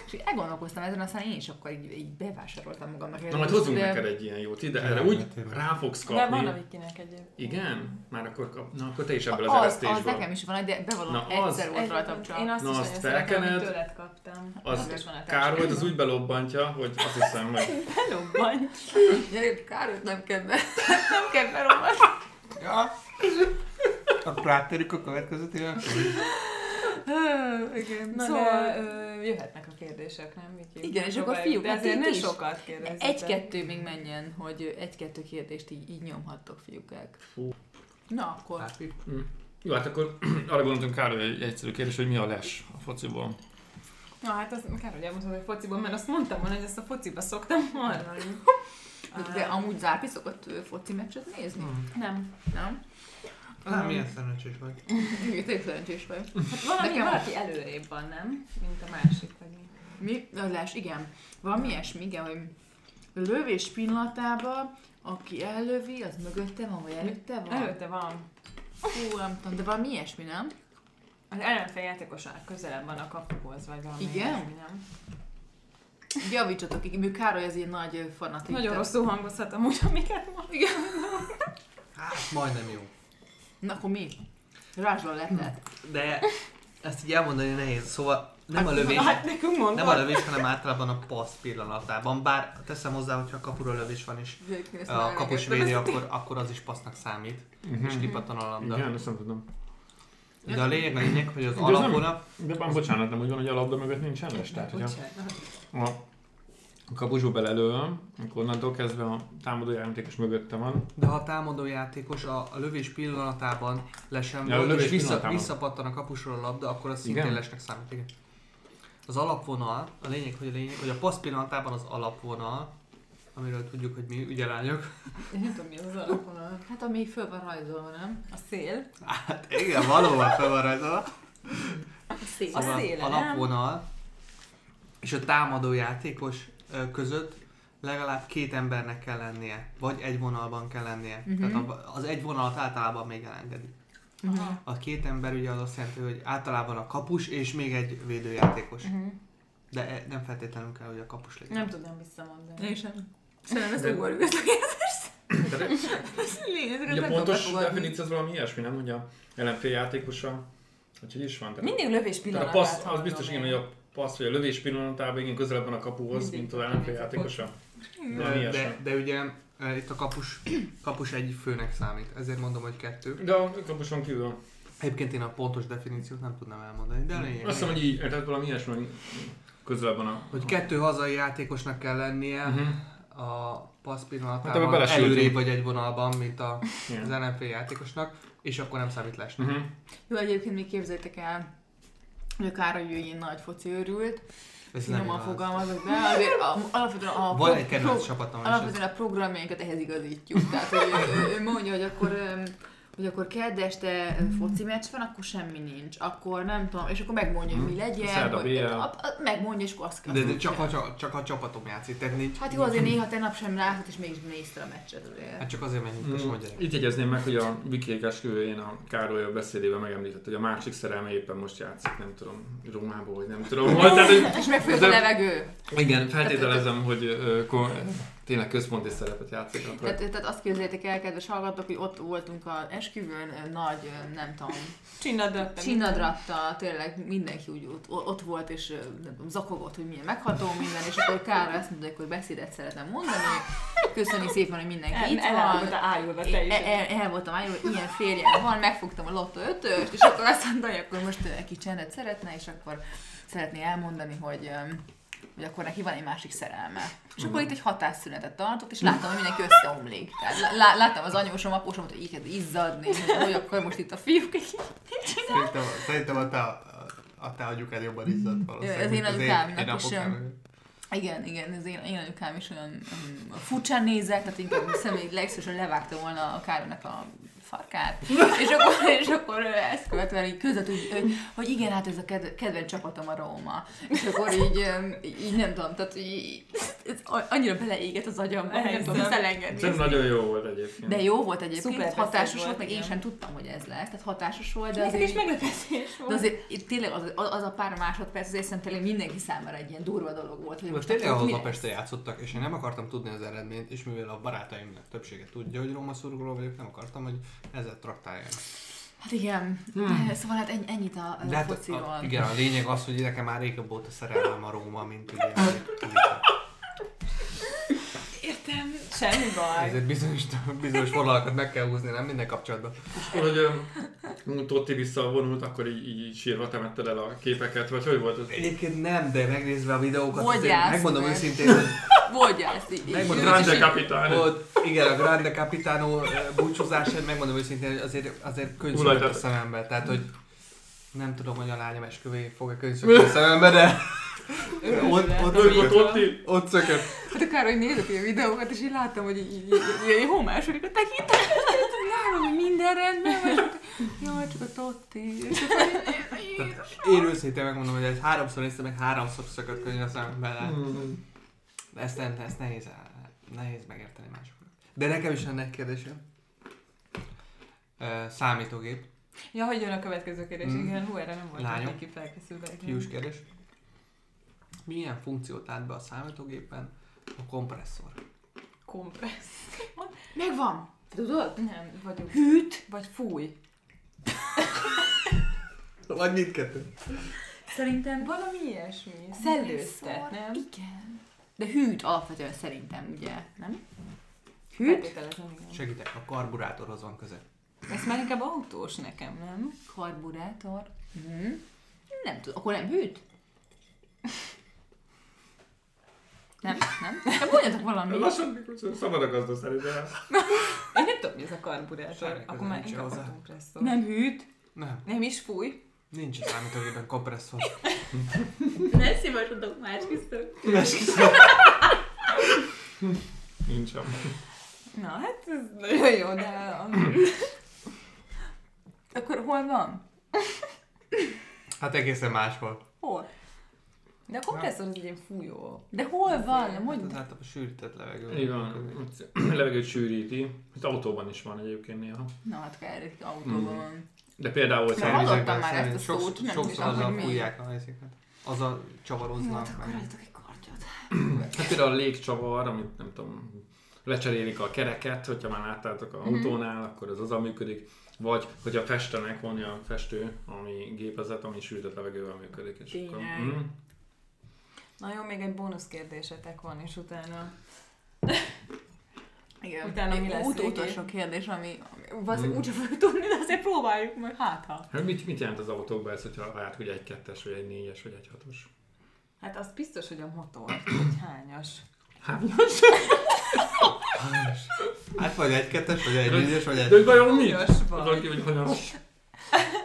B: És így elgondolkoztam ezen, aztán én is akkor így, így bevásároltam magamnak. egy
C: Na majd
B: rúzst,
C: hozzunk
B: de-
C: neked egy ilyen jót ide, erre
D: Tényleg,
C: úgy
D: tényleg.
C: rá fogsz
A: De van
C: kapni.
A: akinek egyébként.
C: Igen? Már akkor kap... Na, akkor te is ebből az,
B: Az,
C: az
B: az
C: eresztésből.
B: nekem is van, egy, de bevallom,
C: Na, az-
B: egyszer volt rajtam csak.
A: Én azt
C: Na,
A: is
C: azt
A: nagyon szeretem, amit
C: felkened.
A: tőled kaptam.
C: Az,
A: Azért van a
C: Károly, az
A: társadalom.
C: úgy belobbantja, hogy azt hiszem, hogy
A: Belobbant.
B: Gyere, Károlyt nem kell be, nem kell berolvasni.
D: Ja. Akkor áttérjük a következőtére.
B: Igen,
A: Na szóval... de ö, jöhetnek a kérdések, nem? Viki?
B: Igen, és
A: Próbáljuk,
B: akkor fiúk,
A: De
B: hát
A: azért
B: ti
A: ne
B: is.
A: sokat kérdezzetek.
B: Egy-kettő még menjen, hogy egy-kettő kérdést így, így nyomhattok, fiúkák.
C: Fú.
B: Na akkor.
C: Jó, hát akkor arra gondoltunk Károly egy egyszerű kérdés, hogy mi a les a fociból.
A: Na hát azt kár, hogy elmondtam, hogy fociban, mert azt mondtam volna, hogy ezt a fociba szoktam hallani.
B: De, de amúgy Zárpi szokott ö, foci meccset nézni?
A: Hmm. Nem.
B: Nem?
D: Hát
A: Hmm.
D: milyen szerencsés vagy.
B: Igen, Tényleg szerencsés vagy.
A: Hát valami,
B: Nekem-
A: valaki előrébb van, nem? Mint a másik, vagy mi?
B: Mi? Lás, igen. Valami ilyesmi, igen, hogy lövés pillanatában, aki ellövi, az mögötte van, vagy előtte van?
A: Előtte van.
B: Fú, nem tudom, de valami ilyesmi, nem?
A: Az ellenfél játékosan közelebb van a kapuhoz, vagy valami.
B: Igen?
A: ilyesmi, nem?
B: Javítsatok, igen, ő Károly az ilyen nagy ö, fanatik.
A: Nagyon
B: tehát-
A: rosszul hangozhat amúgy, amiket mondok.
D: Hát majdnem jó.
B: Na akkor mi? Rázsla lettet.
D: Hm. De ezt így elmondani nehéz, szóval nem a lövés,
A: Hát nekünk mondod.
D: nem a lövés, hanem általában a passz pillanatában. Bár teszem hozzá, hogyha kapura lövés van és a kapus védi, akkor, akkor az is passznak számít, és kipattan a labda.
C: Mhm. Igen, ezt nem tudom.
D: De a lényeg, a lényeg, hogy az
C: De ez nem-
D: alapvonal,
C: De bán, bocsánat, nem úgy van, hogy a labda mögött nincs les. Tehát, hogyha
A: Bocsánat.
C: a kapusú belelő, akkor onnantól kezdve a támadó játékos mögötte van.
D: de ha a támadó játékos a, a lövés pillanatában lesen
C: Ja, a
D: volt,
C: lövés
D: és vissza,
C: pillanatában.
D: visszapattan a kapusról a labda, akkor az szintén
C: Igen.
D: lesnek számít. Igen. Az alapvonal, a lényeg, hogy a lényeg, hogy a passz pillanatában az alapvonal, amiről tudjuk, hogy mi ügyelányok.
A: Én nem tudom, mi az az alapvonal.
B: Hát ami föl van rajzolva, nem?
A: A szél.
D: Hát igen, valóban fel van rajzolva.
B: A szép.
A: A
D: Szóval
A: széle, nem?
D: alapvonal és a támadó játékos ö, között legalább két embernek kell lennie, vagy egy vonalban kell lennie.
B: Mhm.
D: Tehát a- az egy vonalat általában még elengedi.
A: Aha.
D: A két ember ugye az azt jelenti, hogy általában a kapus és még egy védőjátékos.
A: Mhm.
D: De e- nem feltétlenül kell, hogy a kapus legyen.
A: Nem tudom visszamondani.
B: Én sem. Szerintem ezt
C: De-
B: ugorjuk, ezt a kérdést.
C: Tehát,
B: Ez lényeg, ezeket
C: ugye a
B: nem tudom
C: pontos
B: befogadni.
C: definíció az valami ilyesmi, nem? Hogy a ellenfél játékosa, úgyhogy is van. Tehát,
A: Mindig lövés
C: tehát a
A: pillanatát
C: passz, az
A: hallom
C: biztos igen,
A: én.
C: hogy a passz vagy a lövés pillanatában igen közelebb van a kapuhoz,
A: Mindig.
C: mint az ellenfél játékosa. Valami
D: de,
C: ilyesmi.
D: de, de ugye e, itt a kapus, kapus egy főnek számít, ezért mondom, hogy kettő.
C: De a kapuson kívül.
D: Egyébként én a pontos definíciót nem tudnám elmondani, de a lényeg.
C: Azt hiszem, hogy így, tehát valami ilyesmi, hogy közelebb van a...
D: hogy kettő hazai játékosnak kell lennie,
C: Mhm.
D: a passz
C: Hát ebbe
D: pillanatában
C: belesültünk.
D: előrébb vagy egy vonalban, mint a,
C: Igen.
D: az NFL játékosnak, és akkor nem számít lesni.
C: Mhm.
B: Jó, egyébként még képzeljétek el, hogy a Károly ő ilyen nagy foci őrült,
D: Ez nem
B: finoman
D: igaz.
B: fogalmazok be, azért a, alapvetően a...
D: Van egy
B: pro-
D: kedvenc csapatom, és ez
B: Alapvetően a programjainkat ehhez igazítjuk. Tehát, hogy ő- ő mondja, hogy akkor öm, hogy akkor kedd este ö, foci meccs van, akkor semmi nincs. Akkor nem tudom, és akkor megmondja, hogy mi legyen.
C: Szerda
B: hogy-
C: BL.
B: a- a- megmondja, és akkor azt kell.
D: de, de csak, a, csak, csak a csapatom játszik, tehát nincs.
B: Hát jó, azért néha tegnap sem látott, és mégis nézte a meccset. Ugye.
D: Hát csak azért, mert nyugtas
C: Mm,
D: vagy.
C: Itt jegyezném meg, hogy a Viki esküvőjén a Károly a beszédében megemlített, hogy a másik szerelme éppen most játszik, nem tudom, Rómából, vagy nem tudom hol. Tehát, hogy
B: És megfőtt a
C: de-
B: levegő.
C: igen, feltételezem, hogy ö, ko- tényleg központi szerepet játszik. Akkor.
B: Tehát, tehát azt képzeljétek el, kedves hallgatók, hogy ott voltunk a esküvőn, ö, nagy, ö, nem tudom,
A: Csinadra.
B: Csinadratta, tényleg mindenki úgy ott, ott volt, és ö, nem tudom, zakogott, hogy milyen megható minden, és akkor Kára azt mondta, hogy beszédet szeretem mondani. Köszönjük szépen, hogy mindenki
A: El,
B: itt
A: el,
B: van.
A: el, ájulva te
B: El,
A: is.
B: el, el voltam állva, hogy ilyen férjem van, megfogtam a lottó ötöst, és akkor azt mondta, hogy akkor most ö, ki csendet szeretne, és akkor szeretné elmondani, hogy öm, hogy akkor neki van egy másik szerelme. És akkor itt egy hatásszünetet tartott, és láttam, hogy mindenki összeomlik. Tehát lá- lá- láttam az anyósom, apósom, hogy így kezd izzadni, hogy, hogy akkor most itt a fiúk egy
D: Szerintem, szerintem a te, a, a te agyukád jobban izzadt valószínűleg.
B: Mm. Az én
D: mint az
B: anyukámnak
D: én
B: is
D: apukám.
B: Igen, igen, az én, én anyukám is olyan um, furcsán nézett, tehát inkább személy legszívesen levágta volna a Károlynak a farkát. És akkor, és akkor ő ezt követően így között, hogy, hogy, hogy igen, hát ez a kedve, kedvenc csapatom a Róma. És akkor így, öm, így nem tudom, tehát így, ez annyira beleégett az agyamba, hogy nem tudom
A: Elhiszem.
B: elengedni.
C: Szerintem nagyon jó volt egyébként.
B: De jó volt egyébként,
A: Szuper beszéd
B: hatásos
A: volt,
B: volt, meg én
A: igen.
B: sem tudtam, hogy ez lesz. Tehát hatásos volt, de
E: Ez egy
B: azért...
E: kis meglepetés volt.
B: De azért itt tényleg az, az a pár másodperc, azért szerintem tényleg mindenki számára egy ilyen durva dolog volt. Hogy
D: Most tényleg
B: akkor
D: ahol
B: mi
D: a
B: lesz?
D: Pesten játszottak, és én nem akartam tudni az eredményt, és mivel a barátaimnak többsége tudja, hogy Róma szurkoló vagyok, nem akartam, hogy ezzel traktálják.
B: Hát igen, hmm. szóval hát ennyi, ennyit a, a
D: De hát a,
B: fociról.
D: a, igen, a lényeg az, hogy nekem már régebb óta szerelem a Róma, mint ugye.
E: Értem.
A: Semmi baj.
D: Ezért bizonyos, bizonyos vonalakat meg kell húzni, nem minden kapcsolatban.
C: Akkor, hogy öm, Totti visszavonult, akkor így, így, így sírva temetted el a képeket, vagy hogy volt az?
D: Egyébként nem, de megnézve a videókat,
B: Hogy
D: azért
B: játsz
D: megmondom
B: meg?
D: őszintén, hogy
B: Mondja ezt így.
D: Megmondom,
B: így-
C: Grande
B: így-
C: kapitány.
D: Ott, igen, a Grande Capitano eh, búcsúzásán megmondom őszintén, hogy azért, azért könyvszökött a
C: Uraltad.
D: szemembe. Tehát, hogy nem tudom, hogy a lányom esküvé fog-e könyvszökni a szemembe, de ott, ott,
C: Örgó
D: szökött.
C: Totti.
D: Ott szökött.
B: Hát akár, hogy nézek ilyen videókat, és így láttam, hogy így, így, így, így homásodik a tekintet, látom, hogy minden rendben van, és akkor, jaj, csak a Totti. És akkor így- így-
D: Tehát én őszintén megmondom, hogy ezt háromszor néztem, meg háromszor szökött könyv a szemembe. tehát
C: Hmm.
D: Ezt, nem, ezt nehéz, nehéz megérteni másoknak. De nekem is lenne egy kérdésem. Ö, Számítógép,
A: Ja, hogy jön a következő kérdés?
D: Mm.
A: Igen, hú, erre nem voltam
D: Lányok.
A: neki felkészülve. igen.
D: fiús
B: Mm.
D: kérdés. Milyen funkciót lát be a számítógépen a kompresszor?
A: Kompressz.
B: Megvan. Te tudod?
A: Nem, vagyok.
B: Hűt.
A: Vagy fúj.
D: Vagy mindkettő.
A: Szerintem valami ilyesmi. Szellőztet, nem?
B: Igen. De hűt alapvetően szerintem, ugye? Nem? Hűt?
A: Feltételezem, igen.
D: Segítek, a karburátorhoz van közel.
A: Ez már inkább autós nekem, nem?
B: Karburátor. Mhm. Nem tudom, akkor nem hűt? Nem, nem. De mondjatok valamit.
C: Lassan, mikor szóval szabad a gazda szerintem.
A: Én nem tudom, mi ez a karburátor.
D: Semmi
A: Akkor
D: közöm
A: már
D: nincs
A: inkább
D: hozzá.
A: a kompresszor.
B: Nem hűt.
D: Nem,
A: Nem is fúj.
D: nincs a számítógépen kompresszor.
E: Ne szívasodok már, kisztök.
C: Nincs sem.
A: Na, hát ez nagyon jó, de... Akkor hol van?
D: Hát egészen máshol.
A: Hol? De a kompresszor az egy ilyen fújó.
B: De hol van?
D: Hogy hát
B: Mondj.
D: az általában sűrített levegő.
C: Így van. ott Levegőt sűríti. Az autóban is van egyébként néha.
B: Na, hát kell, egy autóban van.
C: De például
B: Na,
C: szerintem-
B: hallottam már ezt a
D: Sokszor-
B: szót, nem
D: Sokszor
B: tudom, hogy
D: azzal
B: mi.
D: fújják a helyszínet. Azzal csavaroznak. meg.
B: hát egy kartyot.
C: Hát például a légcsavar, amit nem tudom, lecserélik a kereket, hogyha már láttátok a autónál, akkor ez azzal működik. Vagy, hogyha festenek, van olyan festő, ami gépezet, ami sűrített levegővel működik. És akkor,
A: Tényleg.
C: mm.
A: Na jó, még egy bónusz kérdésetek van, és utána...
B: Igen.
A: Utána mi
B: Egy
A: lesz
B: ut-
A: végén?
B: utolsó kérdés, ami, ami
C: Hmm.
B: valószínűleg úgyse fogjuk tudni, de azért próbáljuk meg. Hát ha.
C: Hát mit, mit jelent az autókban ez, hogyha vált, hogy egy kettes, vagy egy négyes, vagy egy hatos?
A: Hát az biztos, hogy a motor, hogy hányas.
C: Hányas?
D: Hát vagy egy-kettes, vagy egy négyes, vagy
C: De
D: egy...
C: hogy vajon mi?
A: Hanyas
C: Az
A: vagy.
C: aki, hogy hanyas.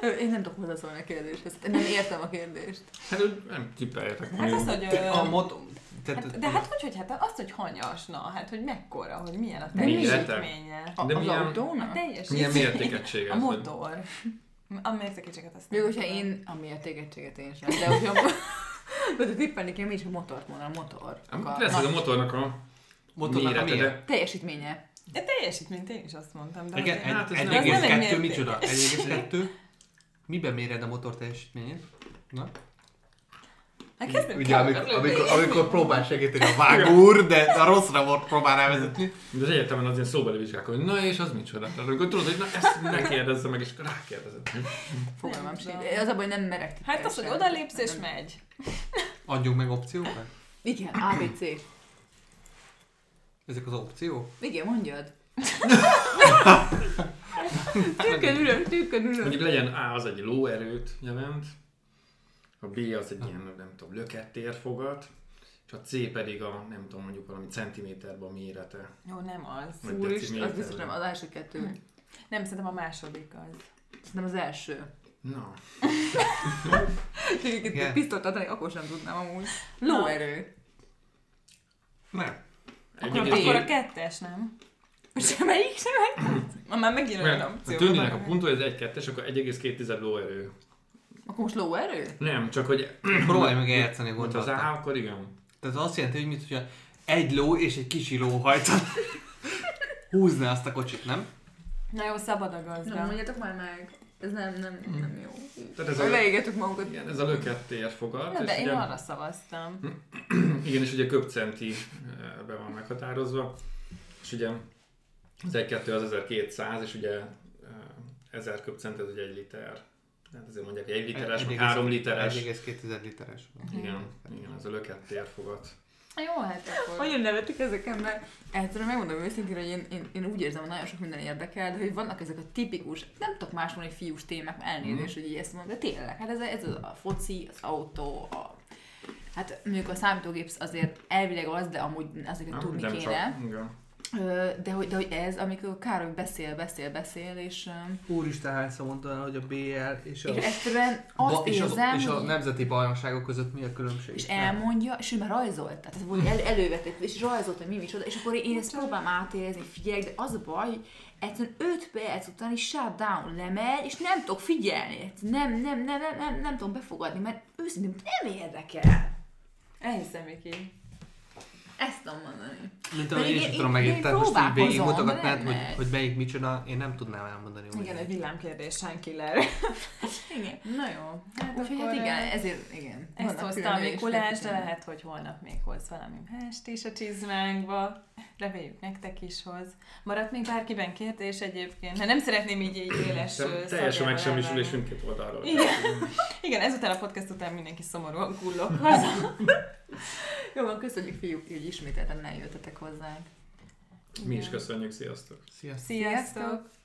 B: Ö, Én nem tudok hozzászólni a kérdéshez. Nem értem a kérdést.
C: Hát hogy nem tippeljetek.
A: Hát
C: mondjuk.
A: az, hogy... ö,
D: A motor...
A: Hát, de hát hogy, hogy hát azt, hogy hanyas, na, hát hogy mekkora, hogy milyen a
C: Milyen?
A: teljesítménye.
B: A,
C: De
B: az
C: milyen-
A: A
B: autónak?
A: teljesítmény.
C: Milyen mértékegysége?
A: A
C: ez, vagy-
A: motor. A mértékegységet azt
B: Még hogyha én a mértékegységet én sem, de hogyha... Hogyha tippelni kell, mi is a motort mondanám, a motor.
C: Hát Lesz ez a motornak a
D: Motornak a
C: mérete,
D: mérete.
C: de
B: Teljesítménye.
A: De teljesítményt én is azt mondtam. De
D: Igen,
A: azért-
C: hát
D: egy-
C: ez nem-
D: egy egész
A: ez nem egy
D: kettő,
A: mérték.
D: micsoda? Egy egész kettő. Miben méred a motor teljesítményét? Na?
A: Hát kezdem
D: Ugye, amikor,
A: kell-
D: amikor, amikor próbál segíteni a vágór, de a rosszra volt próbál elvezetni.
C: De az egyetemen az ilyen szóbeli vizsgák, hogy na és az micsoda. Tehát amikor tudod, hogy na ezt ne kérdezze meg, és akkor rákérdezed.
B: Fogalmam
A: Nem
B: sincs.
A: tudom.
B: Az a baj, nem merek tippelni
A: Hát az, hogy
B: sem.
A: odalépsz és
B: Nem-
A: megy.
D: Adjunk meg opciókat?
B: Igen, ABC.
D: Ezek az opciók?
B: Igen, mondjad. Tűkön ülök, tűkön ülök.
C: Mondjuk legyen A az egy lóerőt jelent, a B az egy ilyen, nem tudom, lökettérfogat, és a C pedig a, nem tudom, mondjuk valami centiméterben a mérete.
A: Jó, nem az.
C: Vagy
B: Úristen, az
C: deciméterben.
B: biztos nem az első kettő.
A: Nem, szerintem a második az.
B: Szerintem az első.
C: Na,
B: Egyébként
D: Igen.
B: pisztolt adni, akkor sem tudnám amúgy. Lóerő.
D: Nem.
A: Akkor,
C: egyébként
A: akkor a
C: én,
A: kettes, nem? Vagy semmelyik sem megtetszett? Ma már megint olyan
D: hát
C: Mert
A: opció.
C: a tűninek a punktó, ez 1-2, és akkor 1,2 lóerő.
B: Akkor most lóerő?
C: Nem, csak hogy...
D: Próbálj meg eljátszani
C: Mondta az
D: gondolattal.
C: A, akkor igen.
D: Tehát az azt jelenti, hogy mit, hogyha egy ló és egy kicsi ló hajtana. Húzná azt a kocsit, nem?
A: Na jó, szabad a
E: Na,
A: gazda.
E: mondjatok már meg. Ez nem, nem, nem jó.
C: Tehát ez a,
A: Leégetjük magunkat.
C: igen, ez a lökettér fogad.
A: Na,
C: és
A: de én
C: ugye,
A: arra szavaztam.
C: Igen, és ugye köbcenti eh, be van meghatározva, és ugye az 1 az 1200, és ugye eh, 1000 köbcent ez ugye egy liter. Tehát azért mondják, hogy egy literes, meg
D: Egy-
C: három
D: egész-
C: literes.
D: 1,2 literes.
C: Igen, igen, ez a lökettér fogad.
B: Jó, hát akkor.
A: Hogy-
B: Hogy
E: Nagyon nevetik ezek ember.
B: egyszerűen megmondom őszintén, hogy én, én, én, úgy érzem, hogy nagyon sok minden érdekel, de hogy vannak ezek a tipikus, nem tudok más mondani, fiús témák, mert elnézést, hogy így ezt mondom, de tényleg, hát ez, a- ez az a foci, az autó, a... Hát mondjuk a számítógép azért elvileg az, de amúgy azért hogy tudni
C: nem
B: kéne.
C: csak. Igen.
B: Ö, De hogy, de hogy ez, amikor Károly beszél, beszél, beszél, és, öm,
F: Úristen, hányszor mondta el, hogy a BL és a...
B: és egyszerűen azt
D: Ba- és, az,
B: érzem,
D: és a
B: hogy-
D: nemzeti bajnokságok között mi a különbség?
B: és elmondja, és ő már rajzolt. Tehát ez volt el, elővetett, és rajzolt, hogy mi micsoda, és akkor én ezt próbálom átérezni, figyeljek, de az a baj, hogy egyszerűen 5 perc után is shut down lemegy, és nem tudok figyelni. Egyszerűen Nem, nem, nem, nem, nem, nem tudom befogadni, mert őszintén nem érdekel.
A: Elhiszem, Viki.
B: Ezt tudom mondani.
D: Mint
B: Pedig
D: ahogy én
B: én-
D: sem tudom
B: én-
D: megint,
B: én
D: tehát most így
B: próbálkozom,
D: végig mutogatnád,
B: de nem.
D: hogy, hogy melyik micsoda, én nem tudnám elmondani. hogy-
A: Igen, egy villámkérdés, Sánkiller.
B: Igen.
A: Na jó. Hát
B: Úgyhogy hát igen, ezért igen.
A: Ezt
B: Vannak
A: hozta a
B: különleges
A: Mikulás, de
B: feltételek.
A: lehet, hogy holnap még hoz valami mást is a csizmánkba. Reméljük nektek is hoz. Maradt még bárkiben kérdés egyébként, mert nem szeretném így, így éles ö,
C: Te- Teljesen
A: szabjával
C: megsemmisülés
A: elvágni.
C: mindkét oldalról.
A: Igen. Igen, ezután a podcast után mindenki szomorúan kullog haza.
B: Jó van, köszönjük fiúk, hogy ismételten eljöttetek hozzánk.
C: Mi is köszönjük, sziasztok!
D: Sziasztok!
A: Sziasztok!